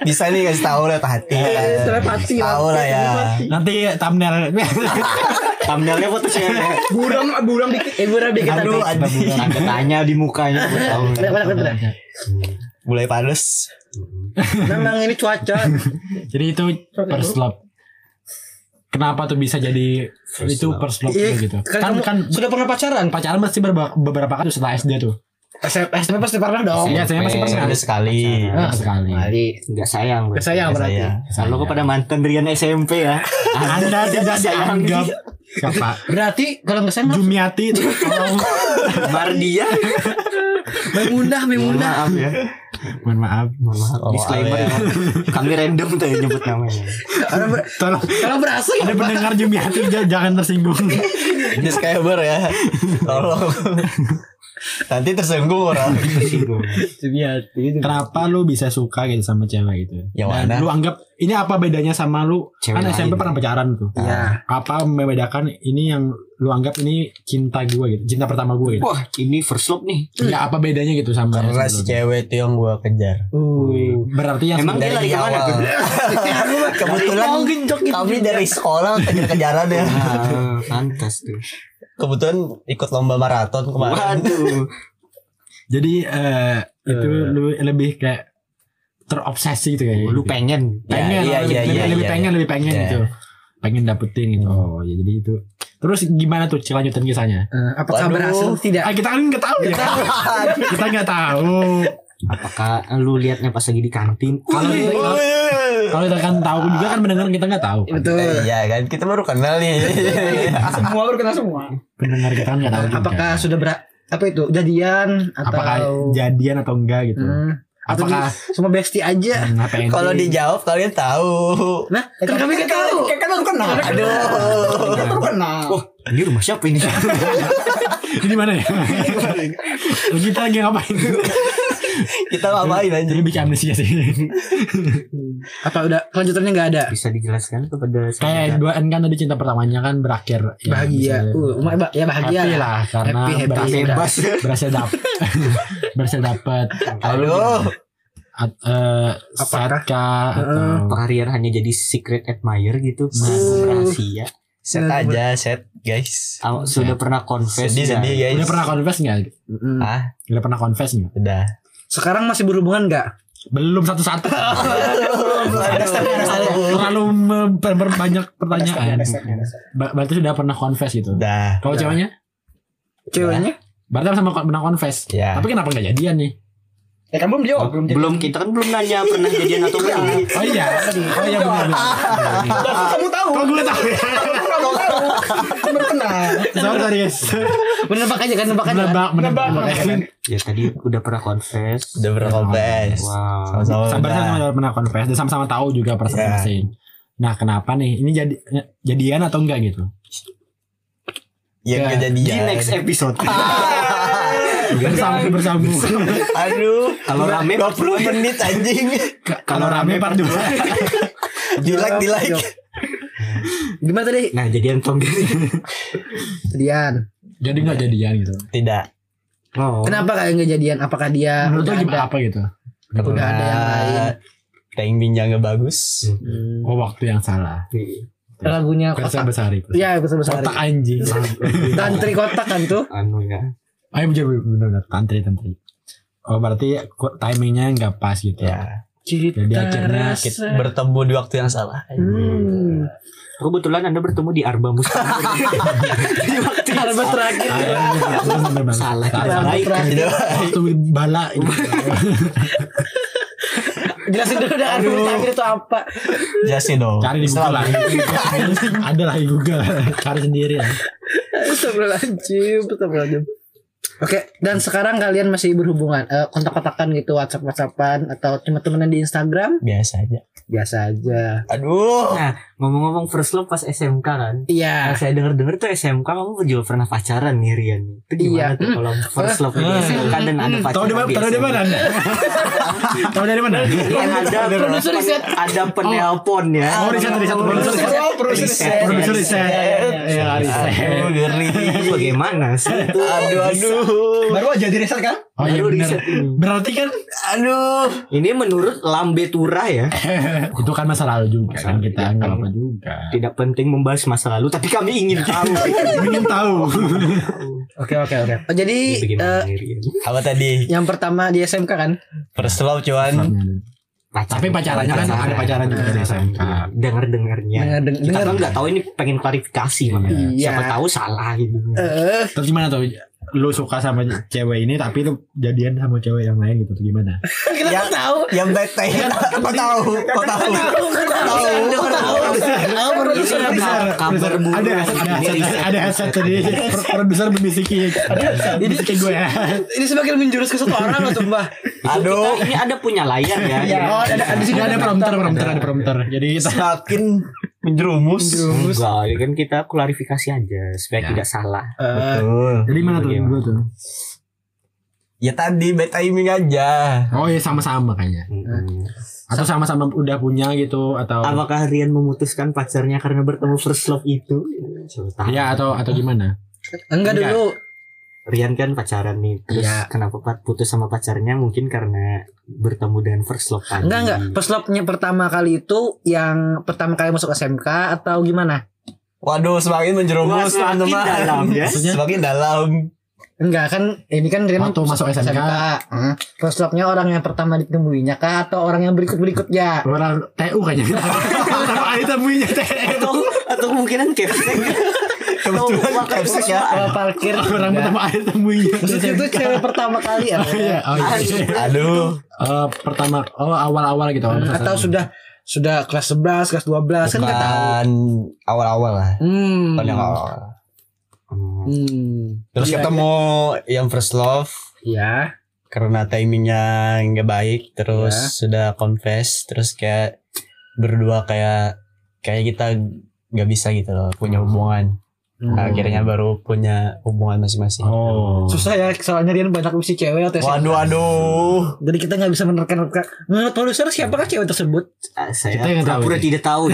Speaker 1: bisa nih kasih tahu lah hati. iya.
Speaker 2: Telepati lah.
Speaker 1: Tahu lah ya.
Speaker 3: Nanti thumbnail.
Speaker 4: Thumbnailnya foto saya. ya.
Speaker 2: Buram, buram dikit. Eh, buram dikit.
Speaker 1: Aduh, anjing.
Speaker 4: Tanda tanya di mukanya gua tahu.
Speaker 2: Udah, udah, udah.
Speaker 1: Mulai panas.
Speaker 2: Memang ini cuaca.
Speaker 3: Jadi itu first love. Kenapa tuh bisa jadi itu first love
Speaker 2: Iya,
Speaker 3: tuh gitu?
Speaker 2: kan
Speaker 3: Kan
Speaker 2: kamu
Speaker 3: kan
Speaker 2: Sudah pernah pacaran?
Speaker 3: pacaran pasti berba- beberapa kali setelah SD tuh.
Speaker 2: SMP SMP pasti pernah dong.
Speaker 3: Iya, saya masih pernah.
Speaker 1: Ada sekali.
Speaker 3: Ah, sekali.
Speaker 4: Jadi nggak sayang.
Speaker 2: Nggak sayang berarti.
Speaker 1: Saya.
Speaker 4: Kalau kepada mantan Rian SMP ya.
Speaker 3: Anda tidak dianggap siapa?
Speaker 2: Berarti kalau nggak sayang
Speaker 3: Jumiati tolong
Speaker 4: Mardia.
Speaker 2: Memunah,
Speaker 4: Mohon
Speaker 2: memunah.
Speaker 4: maaf ya.
Speaker 3: mohon maaf
Speaker 4: Mohon maaf.
Speaker 1: Oh,
Speaker 4: Disclaimer
Speaker 1: maaf
Speaker 4: ya. Kami random tuh yang nyebut namanya.
Speaker 2: Orang ber-
Speaker 3: tolong
Speaker 2: Kalau berhasil
Speaker 3: ada
Speaker 2: apa?
Speaker 3: pendengar Jumiati j- jangan tersinggung
Speaker 1: Disclaimer ya. Tolong. Nanti tersinggung orang.
Speaker 4: Tersinggung.
Speaker 3: kenapa lu bisa suka gitu sama cewek gitu
Speaker 1: Ya,
Speaker 3: Dan
Speaker 1: Wana.
Speaker 3: lu anggap ini apa bedanya sama lu
Speaker 4: Cewek
Speaker 3: kan
Speaker 4: lain.
Speaker 3: SMP pernah pacaran tuh
Speaker 2: Iya.
Speaker 3: apa membedakan ini yang lu anggap ini cinta gua gitu cinta pertama gua gitu
Speaker 4: Wah, ini first love nih.
Speaker 3: ya apa bedanya gitu sama yang
Speaker 4: Iya,
Speaker 1: Karena si
Speaker 3: sebelumnya?
Speaker 1: cewek itu yang gue kejar.
Speaker 2: Uh.
Speaker 3: berarti yang
Speaker 4: Emang dia
Speaker 1: Dari
Speaker 4: lari kemana?
Speaker 1: awal. Kebetulan
Speaker 4: Iya,
Speaker 2: Oh, genjok gitu
Speaker 1: kami
Speaker 2: juga.
Speaker 1: dari sekolah kejar-kejaran ya.
Speaker 4: Ah, pantas tuh.
Speaker 1: Kebetulan ikut lomba maraton kemarin.
Speaker 4: Waduh.
Speaker 3: jadi eh, itu lu lebih kayak terobsesi gitu kayak
Speaker 4: Oh, Lu
Speaker 3: gitu.
Speaker 4: pengen.
Speaker 1: Ya,
Speaker 3: pengen
Speaker 1: iya,
Speaker 3: lebih,
Speaker 1: iya,
Speaker 3: lebih,
Speaker 1: iya,
Speaker 3: lebih
Speaker 1: iya,
Speaker 3: pengen lebih pengen
Speaker 1: Iya.
Speaker 3: gitu pengen dapetin gitu oh ya jadi itu terus gimana tuh Ci, lanjutan kisahnya
Speaker 2: Eh, apakah
Speaker 1: Waduh.
Speaker 2: berhasil tidak?
Speaker 3: ah kita kan nggak tahu ya kita nggak tahu
Speaker 4: Apakah lu liatnya pas lagi di kantin?
Speaker 3: kalau kalau kita kan tahu juga kan mendengar kita nggak tahu kan.
Speaker 2: Betul.
Speaker 1: Iya kan kita baru kenal nih.
Speaker 5: [LAUGHS]
Speaker 2: Semua berkenal semua.
Speaker 3: pendengar kita kan nggak tahu juga
Speaker 2: Apakah sudah ber apa itu jadian atau
Speaker 3: apakah jadian atau enggak gitu
Speaker 2: Hmm. Atau
Speaker 3: apakah
Speaker 2: di- semua bestie
Speaker 3: [LAUGHS]
Speaker 2: aja?
Speaker 3: hmm, apa
Speaker 2: [LAUGHS]
Speaker 3: yang
Speaker 1: Kalau dijawab kalian tahu.
Speaker 2: Nah, kan kami kan tahu. Kan baru kenal.
Speaker 1: Aduh.
Speaker 2: baru kenal.
Speaker 4: Wah, ini rumah siapa ini?
Speaker 3: ini mana
Speaker 2: [LAUGHS]
Speaker 3: ya kita lagi ngapain
Speaker 1: Kita ngapain
Speaker 2: Kan
Speaker 3: jadi
Speaker 1: anjing?
Speaker 3: bikin amnesia sih
Speaker 2: Apa udah kelanjutannya nggak ada?
Speaker 4: Bisa dijelaskan kepada saya.
Speaker 3: kayak dua n kan tadi cinta pertamanya kan berakhir ya,
Speaker 2: Iya. Bahagia.
Speaker 3: bisa-
Speaker 2: Uh, ma- ba- ya bahagia
Speaker 3: happy lah karena
Speaker 2: Happy, happy.
Speaker 3: berhasil
Speaker 4: Bebas.
Speaker 3: [LAUGHS] berhasil
Speaker 2: [LAUGHS]
Speaker 3: dapat berhasil dapat
Speaker 1: Aduh.
Speaker 3: at, eh,
Speaker 2: Apakah?
Speaker 3: Satka atau
Speaker 4: Perharian hanya jadi secret admirer gitu.
Speaker 3: Nah.
Speaker 4: Nah, rahasia.
Speaker 1: Set aja set guys.
Speaker 4: Aw- Sudah pernah confess
Speaker 1: Sedih sedih
Speaker 4: nggak?
Speaker 1: guys.
Speaker 3: udah pernah confess nggak
Speaker 2: Mm-mm.
Speaker 1: Ah
Speaker 3: udah pernah confess nggak
Speaker 1: udah.
Speaker 2: Sekarang masih berhubungan nggak?
Speaker 3: Belum satu-satu.
Speaker 2: [LAUGHS]
Speaker 3: Terlalu memperbanyak pertanyaan. Ba- Berarti sudah pernah confess gitu.
Speaker 1: Udah.
Speaker 3: Kalau ceweknya?
Speaker 2: Ceweknya?
Speaker 3: Berarti sama pernah confess.
Speaker 1: Ya.
Speaker 3: Tapi kenapa nggak jadian nih?
Speaker 5: Ya kan belum jawab. Belum
Speaker 4: Belum kita kan belum nanya pernah jadian atau belum.
Speaker 3: Oh iya. Oh iya benar. benar.
Speaker 5: Berarti
Speaker 2: Ah,
Speaker 5: kamu tahu.
Speaker 3: Kok gue tahu ya?
Speaker 5: Kamu tahu. Kamu kenal.
Speaker 3: Sorry, sorry guys.
Speaker 2: Menebak aja kan, menebak aja. kan?
Speaker 3: Menebak, menebak.
Speaker 5: Menebak,
Speaker 3: menebak.
Speaker 4: Ya tadi udah pernah confess.
Speaker 1: Udah pernah confess.
Speaker 4: Wow.
Speaker 1: Sama-sama.
Speaker 3: Sabar
Speaker 1: Oh, udah.
Speaker 3: sama pernah confess dan sama-sama tahu juga perasaan
Speaker 1: Ya.
Speaker 3: masing. Nah, kenapa nih? Ini jadi ya, jadian atau enggak gitu?
Speaker 1: Yang
Speaker 3: Ya.
Speaker 4: Iya. Di
Speaker 1: kejadian.
Speaker 4: next episode.
Speaker 3: Bersambung bersambung.
Speaker 1: Aduh.
Speaker 4: Kalau rame,
Speaker 1: 20 menit anjing.
Speaker 3: Kalau rame part 2.
Speaker 1: di like, di like.
Speaker 2: Gimana tadi?
Speaker 4: Nah jadian atau enggak?
Speaker 2: Jadian.
Speaker 3: Jadi enggak jadian gitu.
Speaker 1: Tidak.
Speaker 4: Oh.
Speaker 2: Kenapa kayak nggak jadian? Apakah dia
Speaker 3: Menurut lo
Speaker 2: udah
Speaker 3: gimana
Speaker 2: ada?
Speaker 3: apa gitu?
Speaker 2: Udah ada yang
Speaker 1: Nah,
Speaker 2: lain.
Speaker 1: Tank binjangnya bagus.
Speaker 2: Hmm.
Speaker 3: Oh, waktu yang salah.
Speaker 2: Lagunya
Speaker 3: Versa
Speaker 2: kotak.
Speaker 3: besar itu.
Speaker 2: Iya, besar besar.
Speaker 3: Otak anjing.
Speaker 2: Tantri kotak kan tuh.
Speaker 4: Anu ya.
Speaker 3: Ayo bener-bener tantri tantri. Oh, berarti ku- timingnya enggak pas gitu.
Speaker 1: Ya.
Speaker 3: Jadi akhirnya
Speaker 1: Kita bertemu di waktu yang salah.
Speaker 2: Hmm.
Speaker 4: Kebetulan anda bertemu di Arba Muslim.
Speaker 2: Arba
Speaker 3: Iya.
Speaker 2: terakhir.
Speaker 3: Salah.
Speaker 4: Salah. Baik.
Speaker 1: Tidak.
Speaker 3: Waktu gitu. bala ini.
Speaker 2: Jelasin dulu dah arba
Speaker 3: Aduh.
Speaker 2: terakhir itu apa.
Speaker 1: Jelasin dong.
Speaker 3: Cari di Google lah. Ada lah di Google. Cari sendiri lah.
Speaker 2: Astagfirullahaladzim, astagfirullahaladzim. Oke, dan sekarang kalian masih berhubungan eh, kontak-kontakan gitu WhatsApp WhatsAppan atau cuma temenan di Instagram?
Speaker 1: Biasa aja.
Speaker 2: Biasa aja.
Speaker 1: Aduh.
Speaker 4: Nah, Ngomong-ngomong first love pas SMK kan. Nah,
Speaker 2: Iya.
Speaker 4: saya denger-denger tuh SMK kamu juga pernah pacaran nih Rian. Itu
Speaker 2: Iya.
Speaker 4: gimana tuh kalau first love di
Speaker 3: Hmm.
Speaker 4: SMK dan
Speaker 3: Hmm,
Speaker 4: ada
Speaker 3: Tahu
Speaker 4: pacaran
Speaker 3: di mana?
Speaker 4: di
Speaker 3: Tahu di
Speaker 4: SMK?
Speaker 3: mana? Anda? Tahu dari mana?
Speaker 4: Kan ada
Speaker 2: Produser riset.
Speaker 4: ada penelpon
Speaker 3: Iya,
Speaker 4: ya.
Speaker 3: Oh, riset, riset, produser riset.
Speaker 5: Oh, proses
Speaker 4: Riset.
Speaker 3: Produser riset. Iya, riset.
Speaker 1: Aduh, geri.
Speaker 4: Itu Bagaimana sih itu?
Speaker 1: Aduh, aduh.
Speaker 5: Baru aja di riset kan?
Speaker 3: Oh iya
Speaker 4: Baru
Speaker 3: benar.
Speaker 4: riset ini.
Speaker 3: Berarti kan
Speaker 1: Aduh.
Speaker 4: Ini menurut Lambe Tura ya.
Speaker 3: itu kan masa lalu juga
Speaker 4: Masa
Speaker 3: kan
Speaker 4: lalu,
Speaker 3: kita
Speaker 4: iya.
Speaker 3: nggak apa juga.
Speaker 4: Tidak penting membahas masa lalu tapi kami ingin tahu.
Speaker 3: Ingin tahu.
Speaker 2: Oke oke oke. Oh, jadi eh,
Speaker 4: Bagaimana Rian?
Speaker 1: Apa tadi?
Speaker 2: yang pertama di SMK kan?
Speaker 1: First love cuman.
Speaker 4: Pacar- Iya,
Speaker 3: Tapi pacarannya kan ada pacaran juga di SMK.
Speaker 4: Dengar-dengarnya.
Speaker 2: Dengar- dengar.
Speaker 4: Kita kan nggak tahu ini pengen klarifikasi makanya.
Speaker 2: Iya.
Speaker 4: Siapa tahu salah gitu.
Speaker 2: Eh,
Speaker 3: Terus gimana tuh? Lu suka sama cewek ini tapi lu jadian sama cewek yang lain gitu tuh gimana?
Speaker 2: kenapa
Speaker 1: Yang-
Speaker 2: tahu?
Speaker 1: Yang bete. Kau tahu. Kau tahu.
Speaker 2: Tahu, tahu, tahu, produser.
Speaker 4: Kabar- kabar buruk.
Speaker 3: ada ada
Speaker 4: Ini
Speaker 3: headset
Speaker 4: riset.
Speaker 3: ada headset tadi Pro- produser membisiki bisiki gue ya
Speaker 2: Ini semakin menjurus ke satu orang loh, Mbah.
Speaker 1: Aduh.
Speaker 4: Kita ini ada punya layar ya.
Speaker 2: Iya. Oh, ada ada di sini
Speaker 3: Ini ada prompter prompter ada prompter jadi kita
Speaker 1: Semakin menjerumus.
Speaker 4: Enggak, ya kan kita klarifikasi aja supaya
Speaker 3: Ya.
Speaker 4: tidak salah.
Speaker 2: Eh,
Speaker 1: Betul.
Speaker 3: jadi mana tuh
Speaker 4: Bagaimana?
Speaker 3: gue tuh
Speaker 1: Ya tadi bad timing aja.
Speaker 3: oh ya sama-sama kayaknya
Speaker 4: Mm-mm.
Speaker 3: atau sama-sama udah punya gitu atau
Speaker 4: Apakah Rian memutuskan pacarnya karena bertemu first love itu? Coba tahu.
Speaker 3: ya atau atau gimana
Speaker 2: Enggak dulu.
Speaker 4: Rian kan pacaran nih. Terus
Speaker 3: Ya.
Speaker 2: Iya.
Speaker 4: kenapa Pat putus sama pacarnya? Mungkin karena bertemu dengan first love tadi. Eh,
Speaker 2: Enggak enggak. Peslopnya pertama kali itu yang pertama kali masuk SMK atau gimana?
Speaker 1: Waduh, semakin
Speaker 4: Wah,
Speaker 1: menjerumus
Speaker 4: semakin
Speaker 1: teman-teman.
Speaker 4: dalam ya.
Speaker 3: Maksudnya?
Speaker 1: Semakin dalam.
Speaker 2: Enggak kan ini kan Rian
Speaker 3: Waktu masuk SMK.
Speaker 2: Heeh. Peslopnya orang yang pertama ditemuinya kah atau orang yang berikut-berikutnya?
Speaker 3: orang TU [LAUGHS] kayaknya ada temuinya TU
Speaker 4: Atau atau kemungkinan
Speaker 3: [LAUGHS]
Speaker 4: capsek.
Speaker 1: Kebetulan
Speaker 4: Tahu,
Speaker 1: capsek ya.
Speaker 2: Kalau parkir
Speaker 3: orang
Speaker 2: enggak.
Speaker 3: pertama ada temuinya
Speaker 2: Maksudnya itu cewek pertama kali ya?
Speaker 3: Oh iya, oh iya.
Speaker 1: Aduh,
Speaker 3: Eh, pertama oh awal-awal gitu awal
Speaker 2: Atau
Speaker 3: perasaan.
Speaker 2: sudah sudah kelas 11, kelas 12 kan enggak tahu.
Speaker 1: bukan awal-awal lah.
Speaker 2: Hmm.
Speaker 1: Bukan yang awal.
Speaker 4: Hmm.
Speaker 2: Hmm.
Speaker 1: Terus ketemu yang first love
Speaker 2: Ya.
Speaker 1: karena timingnya nggak baik, terus
Speaker 2: Iya.
Speaker 1: sudah confess, terus kayak berdua kayak kayak kita nggak bisa gitu loh punya hubungan.
Speaker 2: Hmm.
Speaker 1: Nah, Akhirnya baru punya hubungan masing-masing.
Speaker 3: oh
Speaker 2: Susah ya soalnya Rian banyak misi cewek atau SMK.
Speaker 1: Waduh, aduh.
Speaker 2: Jadi kita nggak bisa menerka-nerka. Menurut produser siapakah cewek tersebut?
Speaker 4: Ah, Saya
Speaker 3: Kita yang tahu
Speaker 4: pura-pura
Speaker 3: ini.
Speaker 4: tidak tahu.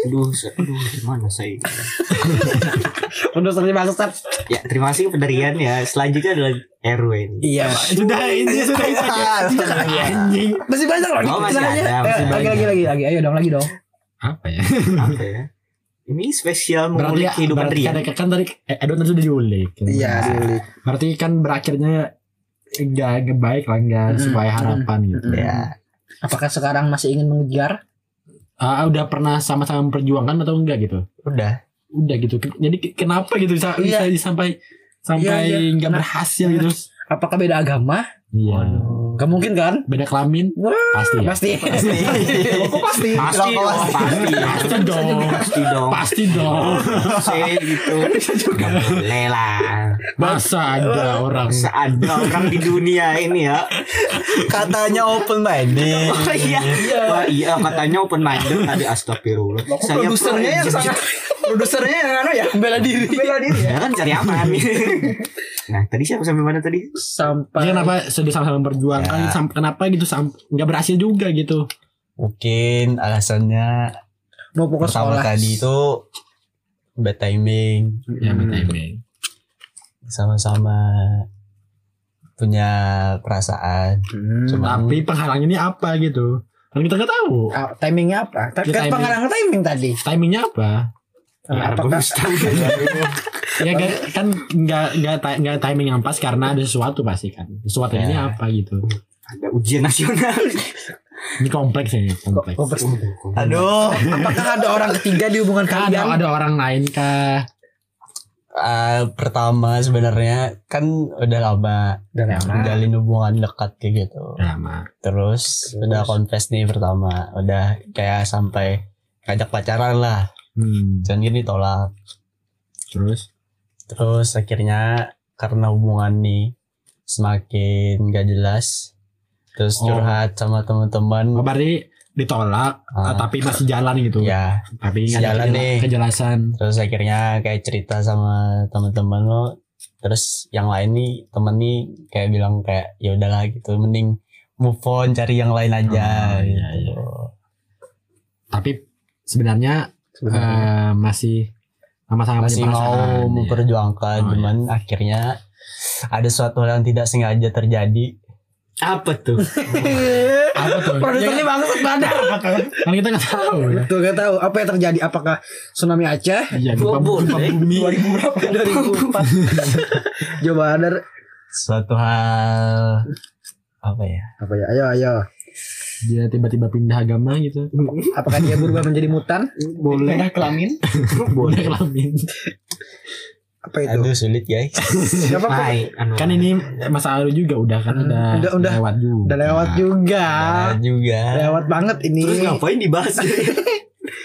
Speaker 4: aduh, saya- aduh, gimana saya?
Speaker 2: Produsernya bangsat.
Speaker 4: Ya, terima kasih kepada Rian ya. Selanjutnya adalah Erwin.
Speaker 3: [LAUGHS]
Speaker 2: Iya.
Speaker 3: sudah ini sudah itu anjing
Speaker 2: Masih banyak loh.
Speaker 4: Oh, masih
Speaker 2: istilahnya.
Speaker 4: ada, masih
Speaker 2: Eh, lagi,
Speaker 4: banyak.
Speaker 2: lagi, lagi, lagi. Ayo dong, lagi dong.
Speaker 3: apa ya
Speaker 4: apa ya? Ini spesial
Speaker 3: berarti
Speaker 4: mengulik kehidupan
Speaker 3: berarti
Speaker 4: Rian.
Speaker 3: kan, kan tadi eh, Edwin tadi sudah diulik
Speaker 2: Iya.
Speaker 3: berarti kan berakhirnya enggak enggak baik lah enggak
Speaker 2: Mm-mm.
Speaker 3: supaya harapan gitu.
Speaker 2: Mm-mm. Iya.
Speaker 1: Ya.
Speaker 2: Hmm. Apakah sekarang masih ingin mengejar?
Speaker 3: Ah, udah pernah sama-sama memperjuangkan atau enggak gitu?
Speaker 1: [LAUGHS] Udah.
Speaker 3: Udah gitu. Ke- Jadi ke- kenapa gitu bisa
Speaker 2: Iya.
Speaker 3: bisa sampai sampai
Speaker 2: Iya, iya. Nah.
Speaker 3: enggak berhasil gitu?
Speaker 2: Apakah beda agama?
Speaker 3: Iya.
Speaker 2: Gak mungkin kan?
Speaker 3: Beda kelamin
Speaker 2: Wah,
Speaker 3: pasti ya.
Speaker 2: Pasti. Pasti. Kok pasti?
Speaker 4: Pasti dong, pasti.
Speaker 3: Pasti dong.
Speaker 4: Pasti dong.
Speaker 3: Pasti dong.
Speaker 2: [LAUGHS]
Speaker 4: Pasti gitu. Nggak boleh lah.
Speaker 3: Masa ada orang
Speaker 4: Masa ada orang di dunia ini ya.
Speaker 1: Katanya open minded.
Speaker 4: Wah iya. Wah iya katanya open minded tadi astagfirullah.
Speaker 2: Kok produsernya yang sangat produsernya yang anu ya bela diri. Bela diri ya.
Speaker 4: Ya kan cari aman. nah, tadi siapa sampai mana tadi?
Speaker 2: Sampai
Speaker 3: Jadi kenapa sudah sama-sama memperjuangkan
Speaker 1: Ya.
Speaker 3: sam- kenapa gitu sam- nggak berhasil juga gitu
Speaker 1: Mungkin alasannya
Speaker 2: mau fokus
Speaker 1: pertama
Speaker 2: sekolah.
Speaker 1: tadi itu bad timing
Speaker 3: ya
Speaker 2: Hmm.
Speaker 3: betul
Speaker 1: sama-sama punya perasaan.
Speaker 2: Hmm.
Speaker 1: Cuma-
Speaker 3: tapi penghalang ini apa gitu kan kita nggak tahu
Speaker 2: Ah, timingnya apa? Tapi
Speaker 3: Iya,
Speaker 2: kan
Speaker 3: timing.
Speaker 2: pengarang timing tadi.
Speaker 3: timingnya apa
Speaker 2: Ah, Apakah
Speaker 3: ya nggak- kan nggak nggak ti- nggak timing yang pas karena ada sesuatu pasti kan sesuatu ini
Speaker 1: Ya.
Speaker 3: apa gitu
Speaker 4: Ada ujian nasional.
Speaker 3: ini kompleks ya, ini
Speaker 2: Kok-
Speaker 3: kompleks
Speaker 2: kok-
Speaker 1: Aduh.
Speaker 2: Oh, apakah ada orang ketiga di hubungan
Speaker 3: Kan ada,
Speaker 2: kalian?
Speaker 3: ada orang lain kah
Speaker 1: Eh, pertama sebenarnya kan udah lama
Speaker 2: Dan
Speaker 1: menjalin hubungan dekat kayak gitu.
Speaker 3: drama
Speaker 1: Terus, udah confess nih pertama, udah kayak sampai ngajak pacaran lah.
Speaker 3: hmm.
Speaker 1: Dan gini tolak.
Speaker 3: terus
Speaker 1: Terus akhirnya karena hubungan nih semakin gak jelas. Terus
Speaker 3: Oh.
Speaker 1: curhat sama
Speaker 3: oh,
Speaker 1: teman-teman.
Speaker 3: berarti ditolak
Speaker 1: Ah,
Speaker 3: tapi masih jalan gitu
Speaker 1: ya,
Speaker 3: tapi nggak ada
Speaker 1: Jalan
Speaker 3: kejela-
Speaker 1: nih.
Speaker 3: kejelasan
Speaker 1: terus akhirnya kayak cerita sama teman-teman lo. Terus yang lain nih temen nih kayak bilang kayak ya udahlah gitu mending move on cari yang lain aja
Speaker 3: Oh, iya,
Speaker 1: gitu.
Speaker 3: tapi sebenarnya Eh, masih sama-sama
Speaker 1: Masih
Speaker 3: punya perasaan,
Speaker 1: mau
Speaker 3: iya.
Speaker 1: memperjuangkan
Speaker 3: Oh, iya.
Speaker 1: cuman akhirnya ada suatu hal yang tidak sengaja terjadi.
Speaker 4: Apa tuh?
Speaker 3: apa tuh
Speaker 2: Produsernya bangsat badan.
Speaker 3: kan kita nggak tahu
Speaker 1: [LAUGHS]
Speaker 3: ya
Speaker 2: Betul gak tahu apa yang terjadi apakah tsunami Aceh
Speaker 3: Iya, gempa,
Speaker 4: Bobo,
Speaker 3: gempa
Speaker 4: eh.
Speaker 3: bumi
Speaker 2: 2000 berapa? 2004. Coba ada
Speaker 1: Suatu hal apa ya?
Speaker 2: apa ya? Ayo ayo.
Speaker 3: dia tiba-tiba pindah agama gitu
Speaker 2: Apakah dia berubah menjadi mutan?
Speaker 4: Boleh.
Speaker 1: [LAUGHS]
Speaker 2: kelamin.
Speaker 3: pindah kelamin
Speaker 2: Apa itu?
Speaker 1: Aduh sulit guys.
Speaker 2: Gak apa-apa.
Speaker 4: Hai, anu.
Speaker 3: kan ini masa lalu juga udah kan
Speaker 2: Hmm,
Speaker 3: udah,
Speaker 2: udah, udah.
Speaker 3: lewat juga
Speaker 2: Udah lewat juga.
Speaker 1: Nah, juga.
Speaker 2: Lewat banget ini.
Speaker 4: Terus ngapain dibahas?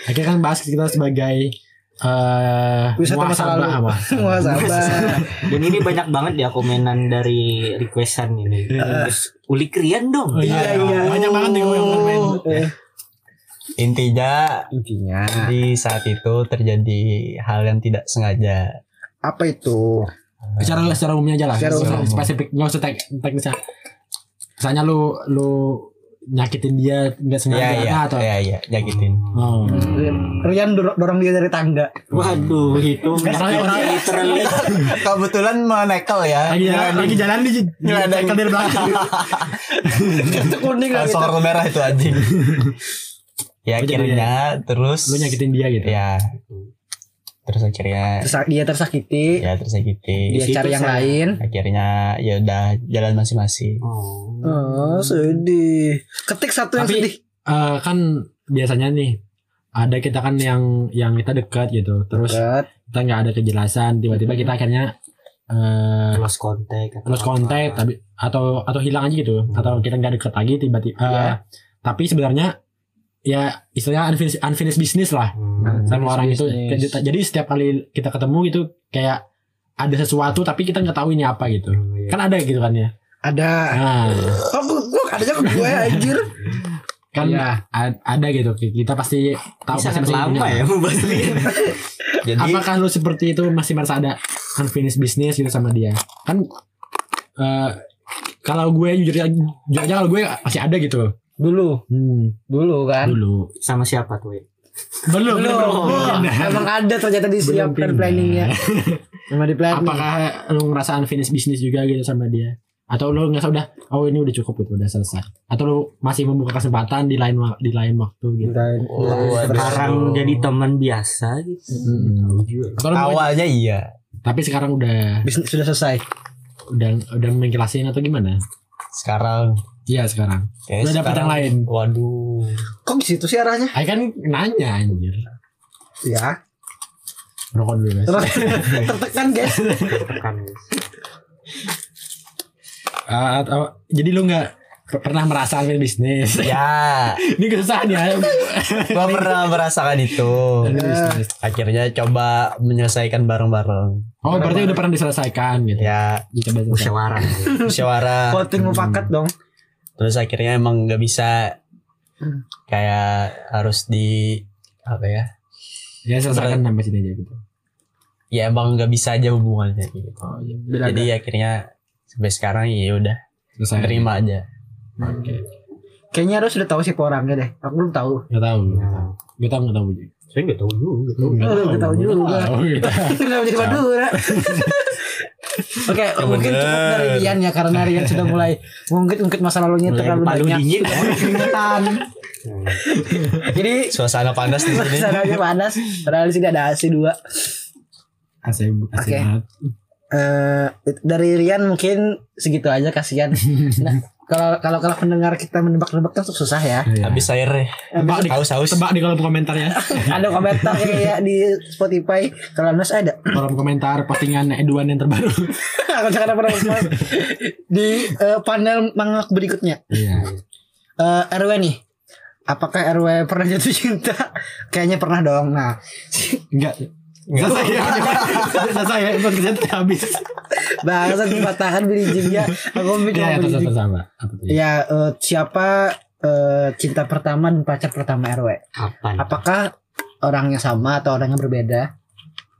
Speaker 3: akhirnya kan bahas kita sebagai eh
Speaker 2: Wisata masa lalu.
Speaker 3: muhasabah apa
Speaker 2: Wah sabar.
Speaker 4: Dan ini banyak banget ya komenan dari requestan ini. Terus ulik Rian dong.
Speaker 3: Oh, iya, iya. banyak banget nih gue yang komen
Speaker 2: Eh,
Speaker 1: Intinya
Speaker 2: Intinya
Speaker 3: Nah.
Speaker 1: di saat itu terjadi hal yang tidak sengaja.
Speaker 2: apa itu?
Speaker 3: secara secara umumnya aja lah
Speaker 2: Secara
Speaker 3: Secara
Speaker 1: umum.
Speaker 3: spesifik nggak usah tek teknisnya misalnya lu lu nyakitin dia nggak
Speaker 1: Iya
Speaker 3: sengaja
Speaker 1: iya
Speaker 3: nah, atau
Speaker 1: iya iya
Speaker 4: Gitu.
Speaker 3: [LAUGHS]
Speaker 1: nyakitin.
Speaker 3: Oh.
Speaker 2: Rian dor- dorong dia dari tangga.
Speaker 4: Waduh, itu menyakiti
Speaker 3: orang-
Speaker 4: literally.
Speaker 1: Kebetulan mau nekel ya.
Speaker 3: lagi jalan, lagi jalan di
Speaker 1: Nyeladeng.
Speaker 3: nyekel dari belakang
Speaker 2: Itu kuning lah
Speaker 1: Langsung
Speaker 2: gitu.
Speaker 1: warna merah itu [LAUGHS] anjing. ya
Speaker 3: Lu jadi-
Speaker 1: akhirnya terus
Speaker 3: lu nyakitin dia gitu
Speaker 1: Ya. Terus akhirnya
Speaker 2: Tersak- Dia tersakiti.
Speaker 1: ya tersakiti.
Speaker 2: dia cari
Speaker 4: situ
Speaker 2: yang
Speaker 4: saya-
Speaker 2: lain.
Speaker 1: Akhirnya ya udah jalan masing-masing.
Speaker 4: Oh.
Speaker 2: Oh, sedih. Ketik satu yang
Speaker 3: Tapi-
Speaker 2: sedih.
Speaker 3: Eh, kan biasanya nih ada kita kan yang yang kita dekat gitu terus
Speaker 2: Dekat.
Speaker 3: kita nggak ada kejelasan tiba-tiba kita akhirnya eh
Speaker 4: Nah, Lost contact. atau
Speaker 3: lost contact
Speaker 4: apa.
Speaker 3: tapi atau atau hilang aja gitu
Speaker 4: Hmm.
Speaker 3: atau kita nggak dekat lagi tiba-tiba Eh,
Speaker 2: Iya.
Speaker 3: tapi sebenarnya ya istilahnya unfinished, unfinished business lah
Speaker 4: Hmm.
Speaker 3: sama orang itu
Speaker 2: Business.
Speaker 3: Ke- jadi setiap kali kita ketemu gitu kayak ada sesuatu tapi kita nggak tahu ini apa gitu kan ada gitu kan ya
Speaker 2: Ada.
Speaker 3: nah,
Speaker 2: Oh, gua, gua adanya ke gue anjir.
Speaker 3: kan
Speaker 2: Iya.
Speaker 3: a- ada gitu kita pasti tahu
Speaker 4: Ini sangat
Speaker 3: pasti- pasti
Speaker 4: lama
Speaker 3: punya.
Speaker 4: ya membahas Rian.
Speaker 1: Jadi
Speaker 3: apakah lu seperti itu masih merasa ada unfinished business gitu sama dia kan eh, kalau gue jujur aja jujur aja kalau gue masih ada gitu
Speaker 2: Dulu,
Speaker 3: hmm,
Speaker 2: dulu kan.
Speaker 3: dulu
Speaker 4: Sama siapa tuh? ya?
Speaker 3: belum belum, Nah.
Speaker 2: Belum. Emang ada ternyata disiapkan
Speaker 3: pindah.
Speaker 2: planningnya. Emang di planning.
Speaker 3: apakah lu ngerasa unfinished business juga gitu sama dia atau lu nggak udah oh ini udah cukup gitu udah selesai atau lu masih membuka kesempatan di lain wa- di lain waktu gitu
Speaker 2: Pindahin.
Speaker 1: Oh, aduh.
Speaker 4: Sekarang jadi teman biasa gitu.
Speaker 3: Mm-mm.
Speaker 4: Tahu juga.
Speaker 3: Atau lu-
Speaker 1: awalnya iya.
Speaker 3: tapi sekarang udah
Speaker 2: Bisnis sudah selesai.
Speaker 3: udah udah mengkilasin atau gimana?
Speaker 1: Sekarang
Speaker 3: Iya sekarang.
Speaker 1: kayaknya
Speaker 3: Udah dapet
Speaker 1: sekarang-
Speaker 3: yang lain. [LAUGHS]
Speaker 1: Waduh.
Speaker 2: Kok di situ sih arahnya?
Speaker 3: Aku kan nanya anjir.
Speaker 2: Ya.
Speaker 3: Rokok dulu guys.
Speaker 2: [LAUGHS] Tertekan guys.
Speaker 4: Nah. Tekan.
Speaker 3: Ah, atau- jadi lu nggak per- pernah merasakan bisnis? [LAUGHS]
Speaker 1: Ya,
Speaker 3: Ini kesusahan ya.
Speaker 1: gua pernah merasakan itu.
Speaker 3: Ini bisnis.
Speaker 1: Akhirnya coba menyelesaikan bareng-bareng.
Speaker 3: Oh berarti udah pernah diselesaikan gitu.
Speaker 1: Ya,
Speaker 3: Coba selesai.
Speaker 4: Musyawarah.
Speaker 1: musyawarah.
Speaker 2: Voting mufakat dong.
Speaker 1: Terus akhirnya emang nggak bisa kayak harus di apa ya?
Speaker 3: Ya selesaikan sampai sini aja gitu.
Speaker 1: Ya emang nggak bisa aja hubungannya gitu.
Speaker 3: Oh iya.
Speaker 1: Jadi akhirnya sampai sekarang ya udah
Speaker 3: Selesai.
Speaker 1: terima aja.
Speaker 3: Oke.
Speaker 2: Kayaknya harus udah tahu sih orangnya deh. Aku belum tahu.
Speaker 3: Gak tahu. nggak
Speaker 4: Nah.
Speaker 3: tahu. Gak tahu nggak tahu.
Speaker 4: Saya nggak tahu juga.
Speaker 3: Nggak
Speaker 2: Nggak tahu juga.
Speaker 3: nggak tahu, gitu.
Speaker 2: [LAUGHS] Kenapa jadi Madura? Oke, mungkin cukup dari Rian ya karena Rian sudah mulai mungkin-mungkin masa lalunya
Speaker 3: Mulai
Speaker 2: terlalu
Speaker 3: kepala
Speaker 2: banyak.
Speaker 3: dingin.
Speaker 2: Keringetan. Jadi
Speaker 1: Suasana panas di sini.
Speaker 2: [LAUGHS] suasananya panas. Padahal di sini ada AC dua.
Speaker 3: Asik asik
Speaker 2: Oke.
Speaker 3: banget.
Speaker 2: Eh dari Rian mungkin segitu aja kasihan. Nah, kalau kalau kalau pendengar kita menebak-nebak kan susah
Speaker 3: [LAUGHS]
Speaker 2: ya.
Speaker 3: Iya.
Speaker 1: Habis airnya.
Speaker 3: Tebak di
Speaker 1: Haus-haus.
Speaker 3: tebak di kolom komentar
Speaker 2: [LAUGHS]
Speaker 3: ya.
Speaker 2: Ada komentar kayak di Spotify kalau Nas ada. [LAUGHS]
Speaker 3: kolom komentar postingan Edwan yang terbaru.
Speaker 2: Kalau jangan pernah mas. di eh, panel mangak berikutnya.
Speaker 3: Iya.
Speaker 2: Eh, RW nih. Apakah RW pernah jatuh cinta? [LAUGHS] Kayaknya pernah dong. Nah,
Speaker 3: Enggak. Selesai ya. Selesai ya. Podcastnya tuh habis.
Speaker 2: bahasan patahan bilinjing ya. Aku mikir
Speaker 3: Iya,
Speaker 2: mau
Speaker 3: terus
Speaker 2: bilinjing.
Speaker 3: terus apa? Apa tuh?
Speaker 2: Ya, eh, siapa eh, cinta pertama dan pacar pertama RW?
Speaker 4: Kapan?
Speaker 2: Apakah orangnya sama atau orangnya berbeda?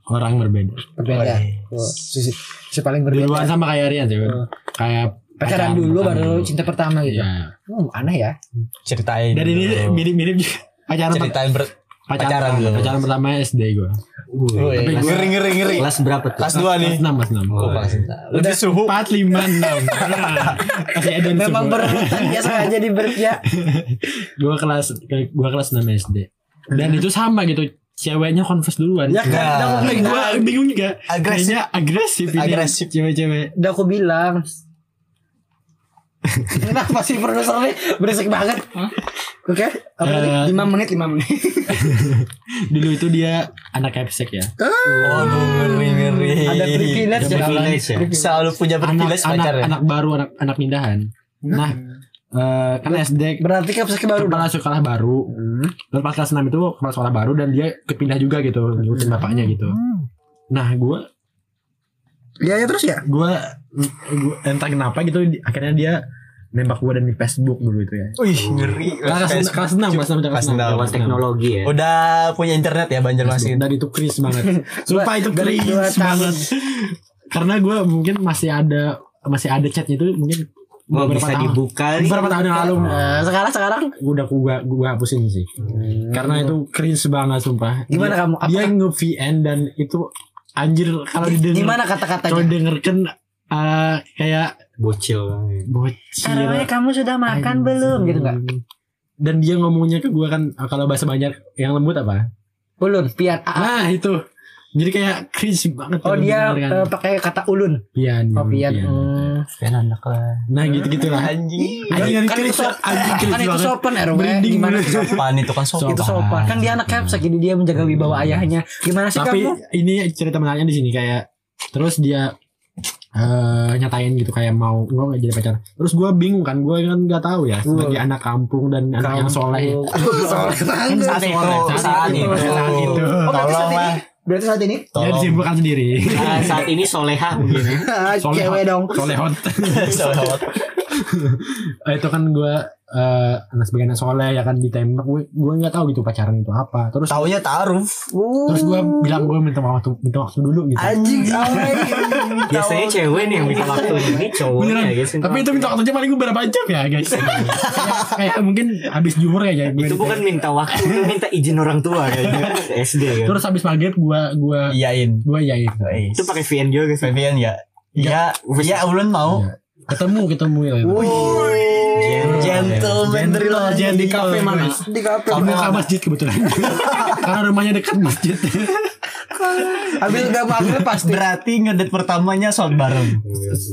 Speaker 3: Orang berbeda.
Speaker 2: Berbeda. Tuh, Si, si- si paling
Speaker 3: Duluan
Speaker 2: berbeda.
Speaker 3: sama kayak Rian sih.
Speaker 2: Oh.
Speaker 3: Kayak
Speaker 2: Pacaran dulu baru cinta pertama gitu.
Speaker 3: Iya.
Speaker 2: Hmm, aneh ya.
Speaker 1: Ceritain.
Speaker 3: Dan ini
Speaker 1: dulu.
Speaker 3: mirip-mirip juga. Pacaran
Speaker 1: ceritain ber pacaran
Speaker 3: pacaran
Speaker 1: dulu.
Speaker 3: pacaran pertama SD gue
Speaker 4: Wih,
Speaker 1: Wih,
Speaker 4: kelas-
Speaker 1: ngeri ngeri ngeri.
Speaker 4: Kelas berapa tuh?
Speaker 1: iya. Kelas 2 nih.
Speaker 3: kelas enam kelas enam
Speaker 2: Oh,
Speaker 1: Kok kelas Lebih suhu.
Speaker 3: empat lima enam Nah, masih ada
Speaker 2: Memang berebutan ya sengaja di ber- ya.
Speaker 3: gue kelas gue kelas enam SD dan itu sama gitu ceweknya confess duluan
Speaker 2: Ya kan,
Speaker 1: Nah.
Speaker 2: udah aku
Speaker 3: Nah, gue
Speaker 2: bilang.
Speaker 3: bingung juga
Speaker 1: Agresif.
Speaker 3: Kayaknya agresif ini
Speaker 1: Agresif.
Speaker 3: cewek-cewek
Speaker 2: Udah aku bilang.
Speaker 3: [LAUGHS]
Speaker 2: Kenapa sih produser nih berisik banget? Oke, apa tadi?
Speaker 3: Eh,
Speaker 5: Lima menit, lima menit.
Speaker 3: dulu itu dia anak capsek ya
Speaker 1: Waduh ngeri ngeri.
Speaker 2: Ada privilege
Speaker 3: Ada
Speaker 2: ya.
Speaker 4: privilege ya?
Speaker 1: Selalu punya
Speaker 3: anak
Speaker 1: privilege
Speaker 3: anak,
Speaker 1: pacar ya.
Speaker 3: anak baru anak anak pindahan nah eh kan SD
Speaker 2: Berarti kan pesakit baru.
Speaker 3: kepala sekolah baru Dan pas kelas 6 itu kepala sekolah baru dan dia kepindah juga gitu ngikutin bapaknya gitu nah gue
Speaker 2: Hmm. Ya ya terus ya.
Speaker 3: gue gue entah kenapa gitu di- akhirnya dia nembak gue dan di Facebook dulu itu ya
Speaker 1: Wih ngeri.
Speaker 3: kelas kelas kelas enam kelas enam kelas
Speaker 1: Kelas
Speaker 3: enam
Speaker 1: enam. Oh.
Speaker 4: Zaman
Speaker 3: kelas enam.
Speaker 4: teknologi ya.
Speaker 1: Udah punya internet ya Banjarmasin.
Speaker 3: dan itu kris banget sumpah itu
Speaker 2: Dari
Speaker 3: kris
Speaker 2: dua tahun.
Speaker 3: banget karena gue mungkin masih ada masih ada chatnya itu mungkin
Speaker 2: Oh,
Speaker 4: Mau
Speaker 3: beberapa
Speaker 4: bisa
Speaker 3: tahun
Speaker 4: dibuka nih.
Speaker 3: beberapa tahun yang lalu
Speaker 2: Nah, sekarang sekarang
Speaker 3: udah gua gua hapusin sih karena itu Iya, cringe banget sumpah
Speaker 2: Gimana
Speaker 3: dia,
Speaker 2: kamu? Apa-
Speaker 3: dia nge VN dan itu anjir kalau didengar
Speaker 2: gimana
Speaker 3: kalau
Speaker 2: kata-katanya?
Speaker 3: dengerkan eh, kayak
Speaker 4: Bocil banget.
Speaker 3: bocil
Speaker 2: Karena kamu sudah makan
Speaker 3: Anjing.
Speaker 2: belum gitu enggak?
Speaker 3: dan dia ngomongnya ke gua kan ah, kalau bahasa banyak yang lembut apa
Speaker 2: Ulun, pian. Ah, ah.
Speaker 3: ah itu jadi kayak cringe banget
Speaker 2: Oh
Speaker 3: kalau
Speaker 2: dia
Speaker 3: didengarkan.
Speaker 2: eh, pakai kata ulun.
Speaker 3: pian,
Speaker 2: Oh pian. Hmm.
Speaker 1: Kan anak lah.
Speaker 3: nah gitu gitulah
Speaker 1: Anjing.
Speaker 3: Anjing,
Speaker 2: Kan
Speaker 3: anjing,
Speaker 2: itu
Speaker 3: cringe, anjing,
Speaker 2: sopan, kan
Speaker 3: cringe
Speaker 2: itu
Speaker 3: banget.
Speaker 2: sopan RW.
Speaker 3: Merinding
Speaker 2: Gimana
Speaker 3: banget.
Speaker 2: sih sopan?
Speaker 1: Pan itu kan sopan.
Speaker 2: Itu sopan. Kan dia anak capsek jadi dia menjaga wibawa ayahnya. Gimana sih
Speaker 3: tapi
Speaker 2: kamu?
Speaker 3: ini cerita menariknya di sini kayak terus dia eh nyatain gitu kayak mau gua nggak jadi pacar terus gua bingung kan gua kan nggak tahu ya sebagai anak kampung dan anak yang soleh
Speaker 2: Soleh
Speaker 3: kan
Speaker 1: Saat itu, saat itu,
Speaker 3: saat itu
Speaker 2: Oh, berarti saat
Speaker 1: Tolong
Speaker 2: ini-
Speaker 1: lah.
Speaker 2: Berarti saat ini
Speaker 3: ya
Speaker 1: Tolong.
Speaker 3: disimpulkan sendiri
Speaker 4: Nah, saat ini soleha mungkin.
Speaker 2: ah, cewek dong.
Speaker 3: solehot [LAUGHS]
Speaker 1: Solehot.
Speaker 3: Eh, itu kan gua eh anak sebagai anak soleh ya kan ditembak gue gue nggak tahu gitu pacaran itu apa terus
Speaker 1: [LAUGHS] Taunya taaruf.
Speaker 3: terus gue bilang gue minta waktu minta waktu dulu gitu
Speaker 2: Anjing alay.
Speaker 4: Biasanya cewek nih yang minta waktu
Speaker 3: [LAUGHS]
Speaker 4: ini cowok
Speaker 3: Beneran.
Speaker 4: ya guys.
Speaker 3: tapi itu minta waktunya paling gue berapa jam ya
Speaker 4: [LAUGHS]
Speaker 3: guys kayak, kayak mungkin habis juhur ya kayak gue
Speaker 4: itu bukan
Speaker 3: ditembak.
Speaker 4: minta waktu, itu minta izin orang tua ya. kayaknya. SD kan.
Speaker 3: terus habis maghrib gue gue
Speaker 1: Iyain.
Speaker 3: gue ya
Speaker 4: Itu pakai VN juga sih.
Speaker 1: Fabian ya. Iya, iya ulun mau.
Speaker 3: ketemu ketemu ya
Speaker 1: Gentleman dari
Speaker 3: Gentle, gentle,
Speaker 1: Di kafe mana?
Speaker 3: guys.
Speaker 2: Di kafe.
Speaker 1: [LAUGHS]
Speaker 3: di muka masjid kebetulan karena rumahnya dekat masjid
Speaker 2: Habis udah maghrib pasti.
Speaker 1: Berarti ngedet pertamanya sholat bareng.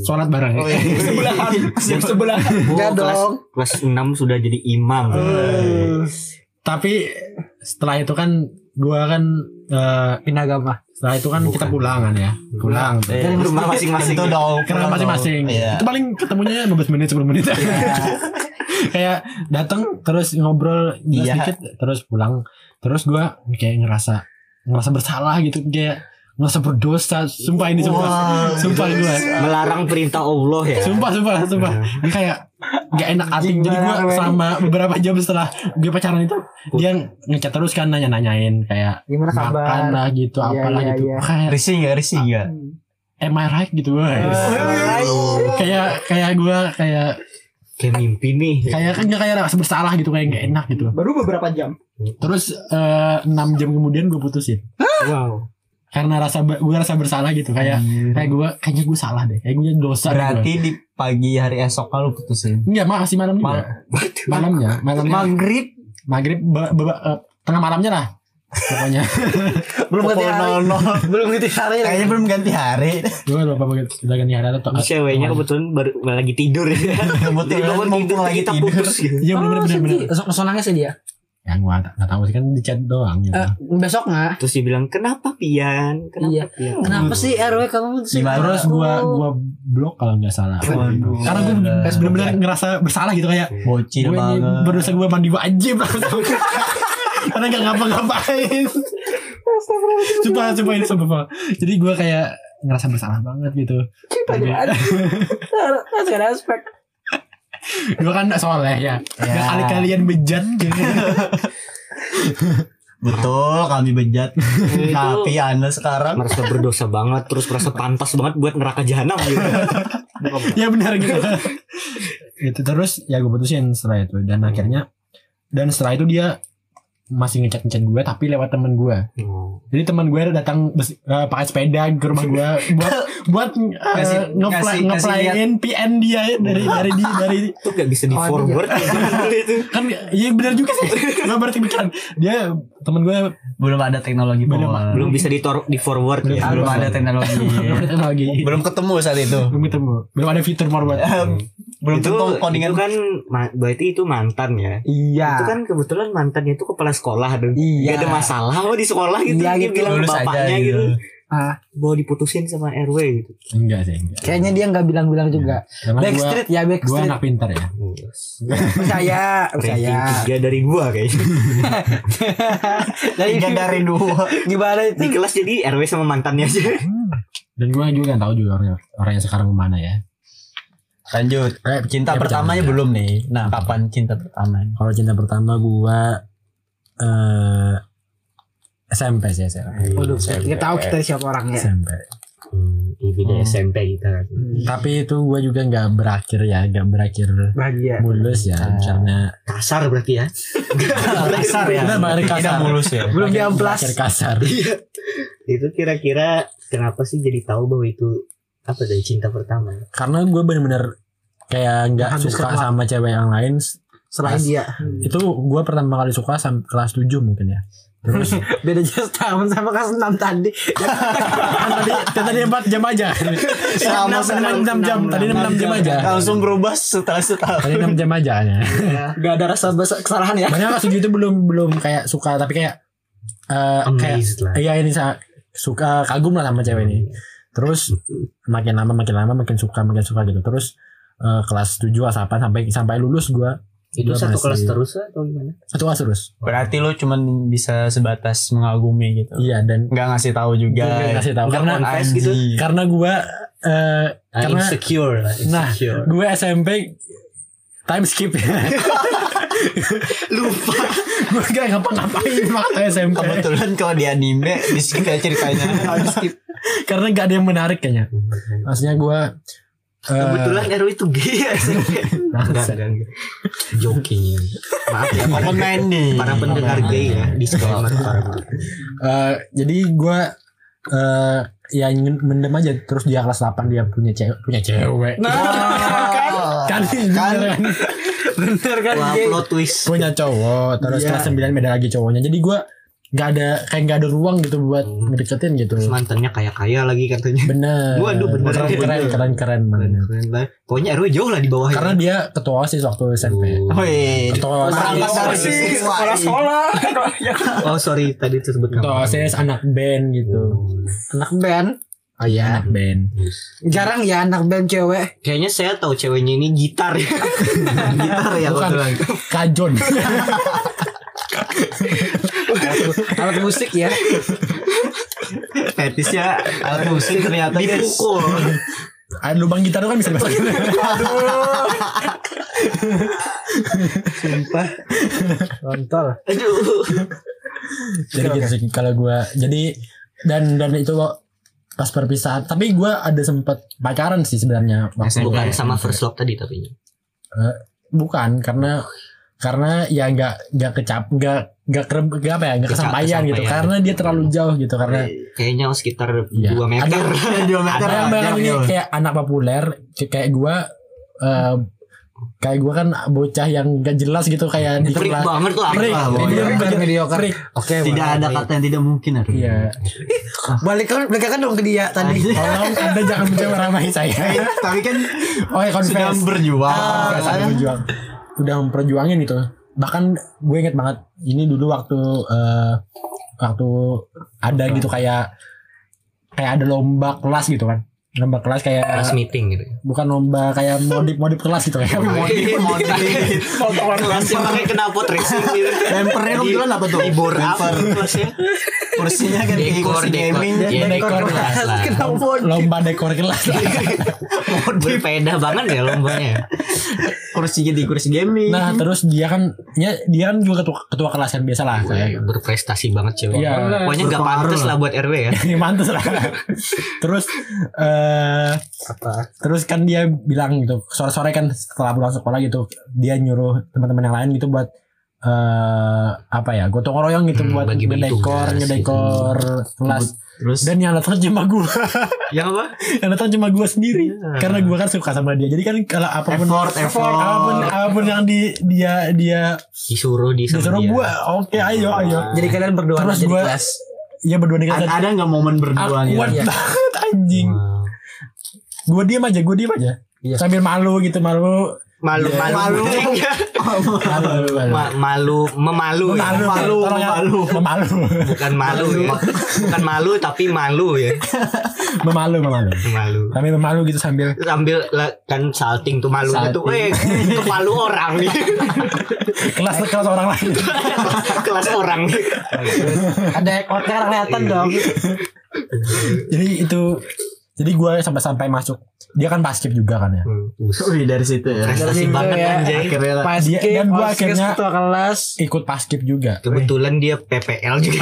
Speaker 3: sholat bareng
Speaker 1: Oh, iya.
Speaker 3: ya.
Speaker 5: sebelahan jam sebelahan
Speaker 2: Enggak
Speaker 4: Oh, kelas,
Speaker 2: dong.
Speaker 4: kelas 6 sudah jadi imam. ya.
Speaker 3: Eh. tapi setelah itu kan gua kan eh, pindah agama setelah itu kan kita pulang kan ya pulang
Speaker 1: Iya.
Speaker 4: Eh, ke rumah masing-masing.
Speaker 1: Itu dong.
Speaker 3: karena
Speaker 1: pulang
Speaker 3: masing-masing
Speaker 1: dong. Iya.
Speaker 3: itu paling ketemunya 15 menit 10 menit Iya. kayak datang terus ngobrol jelas
Speaker 1: Iya.
Speaker 3: dikit terus pulang terus gua kayak ngerasa ngerasa bersalah gitu kayak ngerasa berdosa sumpah ini sumpah
Speaker 1: Wah,
Speaker 3: sumpah gua
Speaker 4: Melarang perintah Allah ya.
Speaker 3: Sumpah, sumpah, sumpah. Ini kayak gak enak hati. Jadi gue sama beberapa jam setelah dia pacaran itu, dia ngechat terus kan nanya-nanyain kayak
Speaker 2: Gimana
Speaker 3: makan
Speaker 2: kabar?
Speaker 3: lah gitu,
Speaker 2: Iya,
Speaker 3: apalah
Speaker 2: iya,
Speaker 3: gitu.
Speaker 2: iya.
Speaker 3: Kayak
Speaker 1: Risih nggak risih nggak?
Speaker 3: am I right gitu guys. kayak kayak gue kayak
Speaker 4: Kayak mimpi nih.
Speaker 5: Iya.
Speaker 3: kayak kan gak kayak rasa bersalah gitu kayak
Speaker 5: Hmm.
Speaker 3: gak enak gitu.
Speaker 5: baru beberapa jam
Speaker 3: Terus eh, enam jam kemudian gue putusin
Speaker 4: Wow.
Speaker 3: karena rasa gue rasa bersalah gitu kayak
Speaker 5: Hmm.
Speaker 3: kayak gue kayaknya gue salah deh kayak gue dosa gitu. deh gua.
Speaker 1: Berarti di pagi hari esok kalau putusin.
Speaker 3: enggak makasih malam juga malamnya
Speaker 1: Iya.
Speaker 3: malamnya
Speaker 2: Maghrib
Speaker 3: maghrib ba- ba- eh, tengah malamnya lah
Speaker 5: [LAUGHS]
Speaker 3: pokoknya
Speaker 2: belum ganti hari.
Speaker 1: Pukul 00.
Speaker 2: [LAUGHS] Belum ganti hari.
Speaker 1: Kayaknya belum ganti hari.
Speaker 3: gue lupa banget kita ganti hari atau
Speaker 5: Iya,
Speaker 4: Ceweknya kebetulan baru lagi tidur ya.
Speaker 1: Kebetulan
Speaker 4: Bangun
Speaker 1: mumpung
Speaker 4: tidur,
Speaker 1: lagi
Speaker 4: kita
Speaker 1: tidur.
Speaker 4: putus gitu.
Speaker 2: Oh,
Speaker 3: iya bener bener
Speaker 5: Oh,
Speaker 3: bener
Speaker 5: sedih. Langsung langsung nangis ya dia
Speaker 3: ya gue gak, tau sih kan di chat doang gitu.
Speaker 5: Eh, besoknya
Speaker 4: Terus dia bilang, "Kenapa Pian? Kenapa
Speaker 5: Iya.
Speaker 4: Pian?"
Speaker 5: kenapa sih RW kamu sih
Speaker 1: Gimana?
Speaker 3: terus gue gua blok kalau nggak salah
Speaker 1: Waduh.
Speaker 3: karena gue
Speaker 5: Iya.
Speaker 3: bener bener ngerasa bersalah gitu kayak
Speaker 1: bocil
Speaker 3: gue ini
Speaker 1: Iya banget.
Speaker 3: berdosa gue mandi wajib langsung [LAUGHS] karena gak ngapa-ngapain sumpah sumpah ini sumpah jadi gue kayak ngerasa bersalah banget gitu
Speaker 5: cinta gimana harus ada aspek
Speaker 3: gue kan gak soleh
Speaker 1: Ya.
Speaker 3: ya, Gak kali kalian bejat gitu.
Speaker 1: [LAUGHS] Betul, kami bejat.
Speaker 4: Itu-
Speaker 1: Tapi Anda sekarang
Speaker 4: merasa berdosa banget terus merasa pantas banget buat neraka jahanam gitu.
Speaker 3: ya benar gitu itu terus ya gue putusin setelah itu dan akhirnya dan setelah itu dia masih ngechat ngechat gue tapi lewat temen gue jadi temen gue datang bes- eh, pakai sepeda ke rumah
Speaker 1: [LAUGHS]
Speaker 3: gue buat buat eh,
Speaker 1: Kasih-
Speaker 3: ngepla-
Speaker 1: kasih- kasih lihat.
Speaker 3: ngeplayin PN dia ya, dari dari di dari
Speaker 4: Itu gak bisa di forward [LAUGHS] itu.
Speaker 3: kan iya benar juga sih gue berarti pikiran dia temen gue
Speaker 1: belum ada teknologi
Speaker 3: Belum,
Speaker 1: bawaan.
Speaker 4: Belum bisa di tor- di forward
Speaker 1: belum,
Speaker 4: ya.
Speaker 1: belum ada teknologi.
Speaker 3: lagi
Speaker 1: [LAUGHS] belum ketemu saat itu.
Speaker 3: belum ketemu belum ada fitur forward
Speaker 1: belum
Speaker 4: itu,
Speaker 1: tentu koningan
Speaker 4: itu kan ma- berarti itu mantan ya.
Speaker 2: Iya.
Speaker 4: Itu kan kebetulan mantannya itu kepala sekolah dan
Speaker 2: Iya.
Speaker 4: gak ada masalah kok di sekolah gitu.
Speaker 2: Iya,
Speaker 4: dia
Speaker 2: gitu.
Speaker 4: bilang ke
Speaker 1: lulus
Speaker 4: bapaknya
Speaker 1: aja
Speaker 4: gitu.
Speaker 1: gitu.
Speaker 4: Bahwa diputusin sama RW gitu.
Speaker 3: enggak sih enggak
Speaker 2: Ah, Kayaknya dia nggak bilang-bilang juga.
Speaker 3: karena gue
Speaker 2: Backstreet ya
Speaker 3: gue
Speaker 2: backstreet.
Speaker 3: anak pintar ya
Speaker 2: Percaya,
Speaker 4: Ranking
Speaker 2: percaya.
Speaker 4: tiga dari gua kayaknya.
Speaker 2: Dari
Speaker 1: Tiga dari dua.
Speaker 2: gimana itu?
Speaker 4: di kelas jadi RW sama mantannya aja.
Speaker 3: dan gue juga gak tahu juga orangnya orangnya sekarang kemana ya
Speaker 1: Lanjut. Cinta
Speaker 3: Ya,
Speaker 1: pertamanya
Speaker 3: bercanda.
Speaker 1: belum nih. Nah, kapan cinta pertama?
Speaker 6: Kalau cinta pertama gua eh SMP sih SMP.
Speaker 2: Waduh, kita tahu kita siapa orangnya.
Speaker 6: SMP.
Speaker 4: Hmm, di beda SMP kita kan.
Speaker 2: Hmm.
Speaker 6: Tapi itu gua juga nggak berakhir ya, nggak berakhir
Speaker 2: Bahagia.
Speaker 6: mulus ya
Speaker 2: Ah.
Speaker 6: karena
Speaker 4: Kasar berarti ya.
Speaker 1: Kasar ya.
Speaker 6: Bener, balik kasar.
Speaker 1: Tidak mulus ya.
Speaker 2: Belum diamplas.
Speaker 6: berakhir kasar.
Speaker 4: itu kira-kira kenapa sih jadi tahu bahwa itu apa dari cinta pertama
Speaker 6: karena gua bener-bener kayak nggak
Speaker 2: Habis
Speaker 6: suka
Speaker 2: kelas.
Speaker 6: sama cewek yang lain.
Speaker 2: Selain dia.
Speaker 6: Itu gua pertama kali suka sampai kelas 7 mungkin ya.
Speaker 3: [LAUGHS]
Speaker 6: Terus
Speaker 2: Bedanya setahun sama kelas 6 tadi.
Speaker 3: kan tadi kan
Speaker 6: [LAUGHS]
Speaker 3: tadi empat jam aja
Speaker 1: Sama
Speaker 3: Enam- enam enam jam tadi enam enam jam aja
Speaker 1: Langsung berubah setelah setahun.
Speaker 6: tadi 6 jam aja ya.
Speaker 2: Gak ada rasa bes- kesalahan ya.
Speaker 6: Makanya kelas 7 itu belum belum kayak suka tapi kayak eh kayak
Speaker 4: amazed lah Iya.
Speaker 6: Iya ini sa- suka kagum lah sama
Speaker 3: Iya,
Speaker 6: cewek ini. Terus makin lama makin lama makin suka makin suka gitu. Terus eh, kelas 7 asapan sampai sampai lulus gua
Speaker 4: itu
Speaker 6: gua
Speaker 4: satu
Speaker 6: masih-
Speaker 4: kelas terus atau gimana
Speaker 6: Satu kelas terus.
Speaker 1: Berarti lu cuman bisa sebatas mengagumi gitu.
Speaker 6: Iya dan
Speaker 1: Nggak ngasih tahu juga.
Speaker 6: Nggak ngasih tahu.
Speaker 1: Nggak
Speaker 6: Karena-
Speaker 1: confess
Speaker 4: Anjing.
Speaker 1: gitu.
Speaker 3: Iya.
Speaker 6: karena gua eh
Speaker 4: Ah,
Speaker 6: Karena-
Speaker 4: insecure lah
Speaker 6: nah
Speaker 4: insecure
Speaker 6: gue SMP time skip ya. [LAUGHS]
Speaker 4: lupa
Speaker 6: gue gak ngapa-ngapain waktu SMP
Speaker 1: Kebetulan kalau di anime di skip ya ceritanya.
Speaker 4: [LAUGHS]
Speaker 6: karena gak ada yang menarik kayaknya. Maksudnya gua eh,
Speaker 4: kebetulan RW itu gay ya enggak enggak enggak. joking maaf ya para,
Speaker 1: Open minded.
Speaker 4: para pendengar gay ya disclaimer para pendengar.
Speaker 6: Eh, jadi gue eh ya ingin mendem aja terus dia kelas 8 dia punya cewek punya cewek
Speaker 3: Nah,
Speaker 2: Nah.
Speaker 6: kan
Speaker 1: kan.
Speaker 6: bener kan?
Speaker 2: Bener kan?
Speaker 4: wah
Speaker 2: Geng?
Speaker 4: plot twist
Speaker 6: punya cowok terus kelas
Speaker 2: Iya.
Speaker 6: 9 beda lagi cowoknya jadi gue
Speaker 3: nggak ada kayak nggak ada ruang gitu buat
Speaker 4: Hmm.
Speaker 3: ngedeketin gitu
Speaker 4: Terus mantannya kaya kaya lagi katanya
Speaker 3: bener
Speaker 4: Waduh, bener.
Speaker 3: keren keren keren keren
Speaker 4: keren Oh, iya.
Speaker 3: bener.
Speaker 4: keren banget pokoknya RW jauh lah di bawah ya. iya.
Speaker 3: karena dia ketua osis waktu SMP
Speaker 4: Oh.
Speaker 2: Woi,
Speaker 3: ketua
Speaker 2: Orang
Speaker 3: osis
Speaker 2: dari
Speaker 1: Sekolah sekolah. Ya,
Speaker 4: oh sorry tadi tersebut
Speaker 3: ketua osis anak band gitu
Speaker 2: anak band. Oh iya,
Speaker 3: anak band
Speaker 2: jarang ya anak band cewek.
Speaker 4: kayaknya saya tahu ceweknya ini gitar ya [LAUGHS] gitar ya
Speaker 3: Bukan.
Speaker 4: kebetulan.
Speaker 3: [LAUGHS] kajon
Speaker 2: Alat musik ya.
Speaker 4: fetisnya alat musik ternyata dipukul
Speaker 3: ada lubang gitar tuh kan bisa dimasukin
Speaker 2: Kontol.
Speaker 4: aduh
Speaker 3: jadi gitu sih kalau gue jadi dan dan itu pas perpisahan tapi gue ada sempat pacaran sih sebenarnya waktu
Speaker 4: bukan
Speaker 3: SMP.
Speaker 4: sama first love tadi tapi
Speaker 3: bukan karena karena ya nggak nggak kecap nggak nggak kerem nggak apa ya nggak
Speaker 4: Keca-
Speaker 3: kesampaian gitu
Speaker 4: kesampaian.
Speaker 3: karena dia terlalu jauh gitu karena
Speaker 4: kayaknya oh, sekitar
Speaker 3: Iya.
Speaker 4: 2 meter [LAUGHS]
Speaker 2: Dua
Speaker 1: Nah,
Speaker 2: meter.
Speaker 3: ada Nah, yang bilang ini kayak anak populer kayak- kayak gue eh kayak gue kan bocah yang gak jelas gitu kayak di
Speaker 4: freak
Speaker 3: kelas
Speaker 4: banget tuh apa
Speaker 3: Freak.
Speaker 4: Bang?
Speaker 3: Dia
Speaker 2: Mediocre,
Speaker 3: bener-
Speaker 2: mediocre.
Speaker 3: freak.
Speaker 2: Oke,
Speaker 4: tidak ada kata yang tidak mungkin Arwi.
Speaker 3: iya
Speaker 2: Balik kan, balik kan dong ke dia tadi.
Speaker 3: tolong anda jangan mencoba ramai saya
Speaker 2: Tapi kan
Speaker 3: oh ya confess
Speaker 2: berjuang.
Speaker 1: Ah,
Speaker 3: Nggak sadar berjuang. udah memperjuangin gitu bahkan gue inget banget ini dulu waktu eh, waktu ada gitu kayak kayak ada lomba kelas gitu kan lomba kelas kayak
Speaker 4: Kelas meeting gitu
Speaker 3: bukan lomba kayak modif modif kelas gitu kayak modif
Speaker 4: [LAUGHS]
Speaker 1: potongan
Speaker 4: kelasnya pakai knalpot racing gitu
Speaker 2: Bempernya lu bilang apa tuh?
Speaker 4: dibor apa kelasnya
Speaker 2: Kursinya kan
Speaker 4: dekor dekor ya dekor kelas lah
Speaker 3: lomba dekor kelas
Speaker 4: berbeda banget ya lombanya
Speaker 2: kursi jadi kursi gaming.
Speaker 4: [LAUGHS]
Speaker 3: nah terus dia kan ya dia kan juga ketua ketua kelas yang biasa lah kayak
Speaker 4: Wah, ya, berprestasi banget cewek
Speaker 3: Iya.
Speaker 4: pokoknya nggak pantas lah buat RW ya
Speaker 3: ini [LAUGHS] mantus lah terus eh terus kan dia bilang gitu sore-sore kan setelah pulang sekolah gitu dia nyuruh teman-teman yang lain gitu buat eh apa ya gotong royong gitu
Speaker 4: Hmm,
Speaker 3: buat
Speaker 4: bagi-bagi
Speaker 3: ngedekor
Speaker 4: tugas hmm.
Speaker 3: ngedekor kelas
Speaker 4: terus
Speaker 3: dan yang datang cuma gue
Speaker 4: yang apa
Speaker 3: [LAUGHS] yang datang cuma gue sendiri
Speaker 4: Iya.
Speaker 3: karena gue kan suka sama dia jadi kan kalau apapun
Speaker 2: Effort, effort.
Speaker 3: apapun apapun yang di dia dia
Speaker 4: disuruh di sama
Speaker 3: disuruh
Speaker 4: dia.
Speaker 3: gue oke ayo ayo
Speaker 2: Jadi kalian berdua
Speaker 3: Terus
Speaker 2: jadi
Speaker 3: gua-
Speaker 2: kelas.
Speaker 3: ya berdua nih
Speaker 2: Ada
Speaker 3: kan
Speaker 2: ada nggak momen berdua gitu?
Speaker 3: awkward banget anjing
Speaker 4: Wah.
Speaker 3: gue iya. diem aja gue diem aja
Speaker 2: Iya.
Speaker 3: sambil malu gitu Iya. malu
Speaker 4: malu malu malu
Speaker 3: [LAUGHS] malu malu
Speaker 4: Iya. Ma- malu memalu ya.
Speaker 3: malu Oh, iya, malu malu malu
Speaker 4: bukan malu ya bukan malu tapi malu ya
Speaker 3: [LAUGHS] memalu memalu
Speaker 4: malu
Speaker 3: kami memalu gitu sambil
Speaker 4: sambil la- kan salting tuh malu
Speaker 3: Salting.
Speaker 4: gitu eh malu
Speaker 3: [LAUGHS]
Speaker 4: orang nih
Speaker 3: kelas kelas orang lain [LAUGHS]
Speaker 4: kelas orang nih
Speaker 3: Iya.
Speaker 2: Ada ekor kan kelihatan dong.
Speaker 3: jadi itu jadi gue sampai sampai masuk dia kan basket juga kan ya
Speaker 2: Wih dari situ ya.
Speaker 3: Iya.
Speaker 4: Hmm, prestasi
Speaker 2: Dari situ
Speaker 4: banget
Speaker 2: ya.
Speaker 4: anjay
Speaker 2: Akhirnya lah.
Speaker 3: Dia-
Speaker 2: Basket,
Speaker 3: dan gua
Speaker 2: basket,
Speaker 3: akhirnya-
Speaker 2: ketua kelas.
Speaker 3: ikut basket juga
Speaker 4: kebetulan dia PPL juga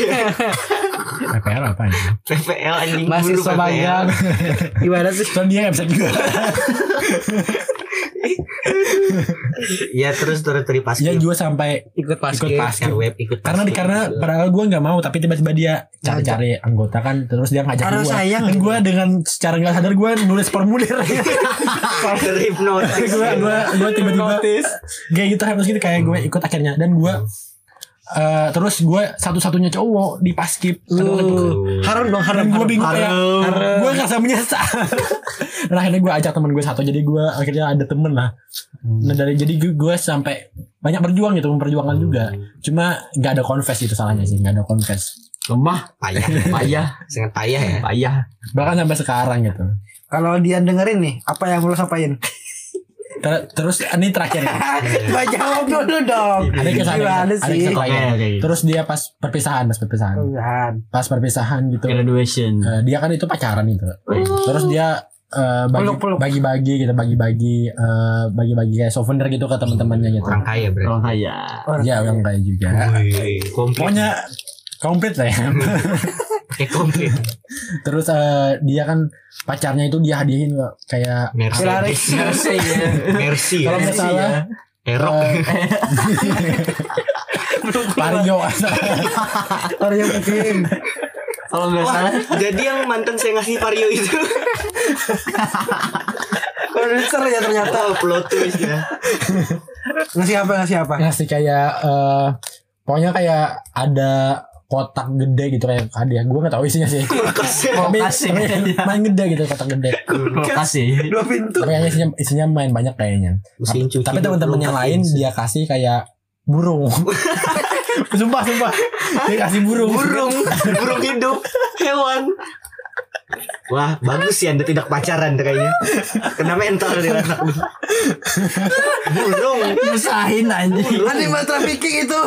Speaker 3: PPR apa ya
Speaker 4: PPL anjing
Speaker 2: Masih
Speaker 4: dulu
Speaker 3: [LAUGHS]
Speaker 4: PPL.
Speaker 2: magang. Gimana sih?
Speaker 3: terus dia nggak bisa juga [LAUGHS]
Speaker 4: ya terus terus dari pas
Speaker 3: dia juga sampai
Speaker 2: Ikut
Speaker 3: ikut basket
Speaker 4: web ikut
Speaker 3: karena di
Speaker 4: basket.
Speaker 3: karena padahal gue nggak mau tapi tiba-tiba dia cari-cari anggota kan terus dia ngajak
Speaker 2: Karena
Speaker 3: gue
Speaker 2: sayang.
Speaker 3: dan gue dengan secara nggak sadar gue nulis formulir [LAUGHS]
Speaker 4: Ah, terhipnotis
Speaker 3: gue gue gue tiba-tiba kayak gitu harus gitu kayak gue ikut akhirnya dan gue eh, terus gue satu-satunya cowok di paskib Kan waktu itu
Speaker 2: Harum dong, harum.
Speaker 3: dan gue
Speaker 2: harum.
Speaker 3: bingung kayak
Speaker 2: Harum.
Speaker 3: gue ngerasa menyesal dan akhirnya gue ajak temen gue satu jadi gue akhirnya ada temen lah nah dari jadi gue, gue sampai banyak berjuang gitu memperjuangkan juga cuma nggak ada confess itu salahnya sih nggak ada confess
Speaker 2: Lemah,
Speaker 4: payah ya.
Speaker 2: payah,
Speaker 4: sangat payah ya
Speaker 2: payah.
Speaker 3: bahkan sampai sekarang gitu
Speaker 2: Kalau dia dengerin nih, apa yang perlu [LAUGHS] sampaikan?
Speaker 3: Ter- terus ini terakhir
Speaker 2: [LAUGHS]
Speaker 3: ya.
Speaker 2: Gua jawab dulu dong.
Speaker 3: ada kesan
Speaker 2: Gimana
Speaker 3: ada
Speaker 2: sih?
Speaker 3: kesan lain. terus dia pas perpisahan pas perpisahan
Speaker 2: Tuhan.
Speaker 3: pas perpisahan gitu
Speaker 2: Graduation.
Speaker 3: Eh, dia kan itu pacaran gitu. Terus dia eh, bagi-
Speaker 2: Peluk-peluk.
Speaker 3: bagi-bagi gitu, bagi-bagi eh, bagi-bagi kayak souvenir gitu ke teman-temannya gitu.
Speaker 4: orang kaya
Speaker 1: Oh.
Speaker 4: berarti
Speaker 2: Orang kaya.
Speaker 3: Iya, orang kaya juga.
Speaker 4: Wih, komplit
Speaker 3: Pokoknya komplit lah ya.
Speaker 4: kayak komplit
Speaker 3: [LAUGHS] Terus eh, dia kan pacarnya itu dia hadiahin ke- kayak
Speaker 4: Mercy
Speaker 2: Mercy ya.
Speaker 4: Mercy ya
Speaker 3: kalau nggak salah
Speaker 4: Erok
Speaker 3: [LAUGHS] eh, Vario
Speaker 2: Orang yang mungkin. Kalau nggak
Speaker 4: Wah,
Speaker 2: salah,
Speaker 4: jadi yang mantan saya ngasih Vario itu
Speaker 2: produser ya ternyata.
Speaker 4: oh, plot twist
Speaker 3: Iya
Speaker 4: ya
Speaker 2: Ngasih apa? Ngasih apa?
Speaker 3: ngasih kayak eh, pokoknya kayak ada kotak gede gitu kayak hadiah gue nggak tahu isinya sih Tapi-
Speaker 7: Kulkas ya.
Speaker 3: tapi main gede gitu kotak gede
Speaker 1: Makasih.
Speaker 7: Dua pintu.
Speaker 3: tapi kayaknya isinya isinya main banyak kayaknya
Speaker 4: Mesin cuci
Speaker 3: tapi teman-teman yang lain dia kasih kayak burung sumpah sumpah dia kasih burung
Speaker 7: Burung, burung hidup, hewan.
Speaker 4: Wah bagus sih anda tidak pacaran tuh kayaknya Kena mental dia anak Burung
Speaker 1: Nyusahin anjing.
Speaker 7: Animal trafficking itu.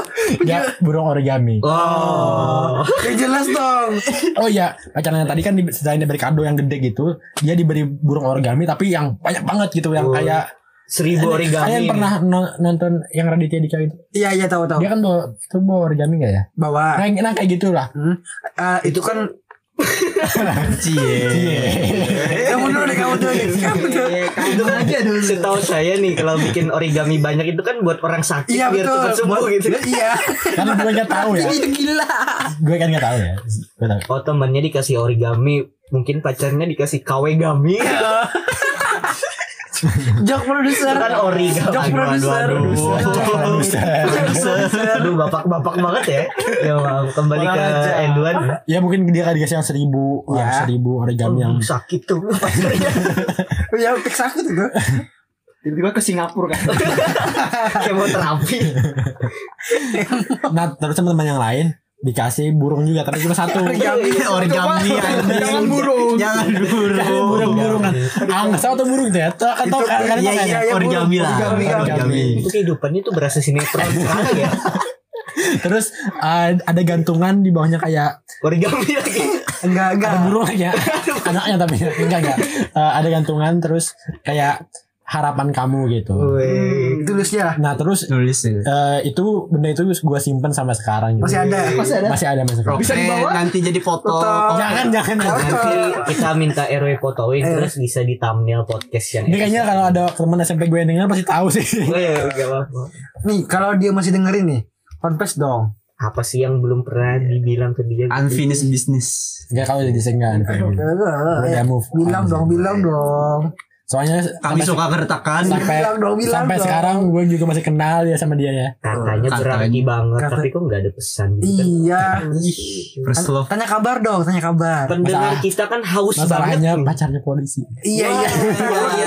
Speaker 3: dia burung origami
Speaker 4: Oh
Speaker 7: Ya jelas dong.
Speaker 3: oh iya acaranya tadi kan di- selain diberi kado yang gede gitu dia diberi burung origami tapi yang banyak banget gitu yang
Speaker 4: Oh,
Speaker 3: kayak
Speaker 4: Seribu
Speaker 3: kalian
Speaker 4: origami
Speaker 3: pernah no- nonton yang Raditya Dika itu
Speaker 2: Iya iya tahu tahu.
Speaker 4: Ya.
Speaker 3: dia kan bawa itu bawa origami gak ya
Speaker 2: Bawa
Speaker 3: nah, nah kayak gitulah
Speaker 4: Hmm.
Speaker 2: eh, itu kan
Speaker 3: Cie.
Speaker 2: kamu dulu deh kamu dulu deh. [LAUGHS] Kamu dulu.
Speaker 4: Itu kan Setahu saya nih Kalau bikin origami banyak itu kan Buat orang sakit
Speaker 2: Iya
Speaker 4: Biar
Speaker 2: betul.
Speaker 4: cepat sembuh
Speaker 2: Buat-
Speaker 4: gitu
Speaker 2: [LAUGHS] Iya.
Speaker 3: kan gue gak tahu
Speaker 2: [LAUGHS]
Speaker 3: ya
Speaker 2: Ini gila.
Speaker 3: gue kan gak tahu ya gue tahu
Speaker 4: Oh temannya dikasih origami Mungkin pacarnya dikasih kawegami
Speaker 2: Jok produser.
Speaker 4: Itu kan origami
Speaker 2: Jok
Speaker 4: Aduh, aduh,
Speaker 2: produser.
Speaker 4: aduh. Aduh bapak-bapak banget ya Ya maaf Kembali ke
Speaker 2: Olahraga.
Speaker 4: Edwan
Speaker 3: ya mungkin dia kan dikasih yang seribu
Speaker 2: Ya.
Speaker 3: yang seribu origami yang
Speaker 4: Sakit tuh pacarnya
Speaker 2: Ya pik sakit itu.
Speaker 7: Tiba-tiba ke Singapura
Speaker 3: [LAUGHS]
Speaker 7: kan.
Speaker 4: Kemoterapi
Speaker 3: nah terus teman-teman yang lain dikasih burung juga tapi cuma satu
Speaker 4: iya,
Speaker 3: Iya,
Speaker 7: Origami. Jangan burung.
Speaker 1: Jangan dulu.
Speaker 3: burung-burungan angsa atau burung itu ya Tuh, kan tau kan kan
Speaker 2: Iya
Speaker 3: tau
Speaker 2: iya
Speaker 3: kan ya?
Speaker 2: iya.
Speaker 1: Origami kan? lah.
Speaker 2: Origami.
Speaker 3: Origami.
Speaker 4: Itu kehidupannya tuh berasa sinetron sekali ya
Speaker 3: terus uh, ada gantungan di bawahnya kayak
Speaker 4: Origami lagi
Speaker 2: Enggak enggak.
Speaker 3: ada burung ya anaknya tapi enggak enggak Uh, ada gantungan terus kayak harapan kamu gitu
Speaker 4: Weh.
Speaker 2: Hmm, Tulisnya lah.
Speaker 3: nah terus
Speaker 1: Nulis ya.
Speaker 3: uh, itu benda itu gue simpen sampai sekarang gitu.
Speaker 2: Masih ada.
Speaker 7: Masih ada.
Speaker 3: masih ada masih ada
Speaker 7: Bisa dibawa?
Speaker 1: nanti jadi foto.
Speaker 2: Foto.
Speaker 3: jangan jangan jangan.
Speaker 4: Nanti kita minta RW fotoin terus bisa di thumbnail podcast yang
Speaker 3: Eh. Ini kayaknya kalau ada teman SMP gue yang denger pasti tahu sih. [LAUGHS]
Speaker 4: Weh, gak apa-apa.
Speaker 2: Nih kalau dia masih dengerin nih. Confess dong.
Speaker 4: Apa sih yang belum pernah dibilang ke dia?
Speaker 1: Unfinished business.
Speaker 3: Enggak kalau jadi senggan.
Speaker 2: Eh,
Speaker 3: Udah move. on.
Speaker 2: Bilang dong, bilang dong.
Speaker 3: Soalnya
Speaker 1: Kami
Speaker 3: sampai,
Speaker 1: suka keretakan.
Speaker 3: sampai
Speaker 2: Bilang dong, bilang
Speaker 3: sampai
Speaker 2: dong.
Speaker 3: sekarang gue juga masih kenal ya sama dia ya.
Speaker 4: Katanya
Speaker 1: Katanya.
Speaker 4: berarti banget,
Speaker 2: Kata-
Speaker 4: tapi kok nggak ada pesan gitu kan?
Speaker 2: Iya.
Speaker 1: First love.
Speaker 2: Tanya kabar dong, tanya kabar.
Speaker 4: Pendengar
Speaker 3: Masalah-
Speaker 4: kita kan haus banget.
Speaker 3: Masalahnya pacarnya polisi.
Speaker 2: Iya iya. Iya iya.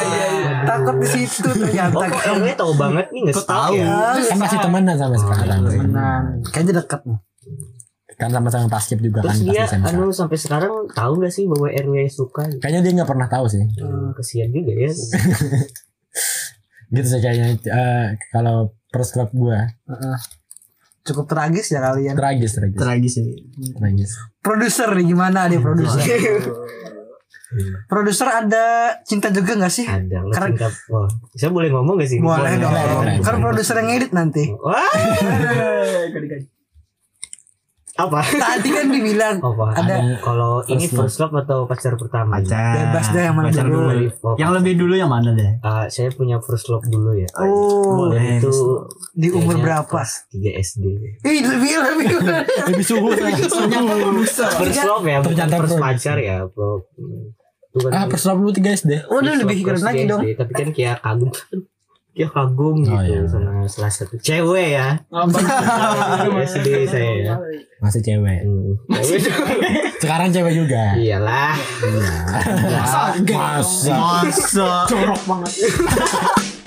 Speaker 2: Takut di situ
Speaker 4: Oh,
Speaker 2: ternyata.
Speaker 4: kok RW tahu banget nih nggak tahu ya?
Speaker 2: Ah,
Speaker 3: Kan masih temenan sampai sekarang.
Speaker 2: Temenan. Kayaknya dekat nih.
Speaker 3: Kan sama-sama paskib juga kan
Speaker 4: Terus dia,
Speaker 3: pas SMK.
Speaker 4: anu sampai sekarang tahu nggak sih bahwa RW suka? ya?
Speaker 3: Kayaknya dia nggak pernah tahu sih.
Speaker 4: Hmm, kesian juga ya.
Speaker 3: Gitu sih kayaknya eh, kalau first love gue
Speaker 2: Cukup tragis ya kalian.
Speaker 3: tragis tragis
Speaker 1: Tragis sih.
Speaker 3: tragis.
Speaker 2: Produser nih gimana nih produser? Produser ada cinta juga nggak sih?
Speaker 4: Ada lo
Speaker 2: Karena-
Speaker 4: cinta. Wah, saya boleh ngomong gak sih?
Speaker 2: Boleh dong.
Speaker 3: boleh.
Speaker 2: Kan produser yang ngedit nanti.
Speaker 4: Wah, apa?
Speaker 2: Tadi kan dibilang
Speaker 4: Apa?
Speaker 2: Ada.
Speaker 4: Kalau ini
Speaker 3: love.
Speaker 4: first love atau pacar pertama?
Speaker 1: Pacar.
Speaker 2: Bebas deh yang mana
Speaker 1: Pacar
Speaker 2: dulu.
Speaker 1: dulu.
Speaker 4: Oh,
Speaker 1: Yang lebih dulu yang mana [LAUGHS] deh?
Speaker 4: Ah, saya punya first love dulu ya.
Speaker 2: Oh,
Speaker 1: Boleh.
Speaker 4: Dan itu
Speaker 2: di umur
Speaker 4: kayaknya
Speaker 2: berapa?
Speaker 4: kelas 3 SD.
Speaker 2: Ih, lebih lebih.
Speaker 3: Lebih
Speaker 2: [LAUGHS]
Speaker 3: suhu.
Speaker 4: First love ya, bukan
Speaker 3: Ternyata
Speaker 4: first
Speaker 3: first.
Speaker 4: pacar ya, Bro. Itu kan
Speaker 3: ah first love lu guys deh.
Speaker 2: Waduh,
Speaker 4: first
Speaker 2: lebih
Speaker 4: love
Speaker 2: keren
Speaker 4: kelas
Speaker 2: lagi
Speaker 4: 3
Speaker 2: dong.
Speaker 4: SD, Tapi kan kayak kagum. Kayak
Speaker 3: Oh,
Speaker 4: kagum gitu
Speaker 3: iya.
Speaker 4: sama salah satu cewek ya. SD saya ya.
Speaker 3: Masih cewek.
Speaker 4: Hmm, cewek juga.
Speaker 3: Sekarang cewek juga.
Speaker 4: Iyalah.
Speaker 3: Masa?
Speaker 1: Masa.
Speaker 3: Jorok banget.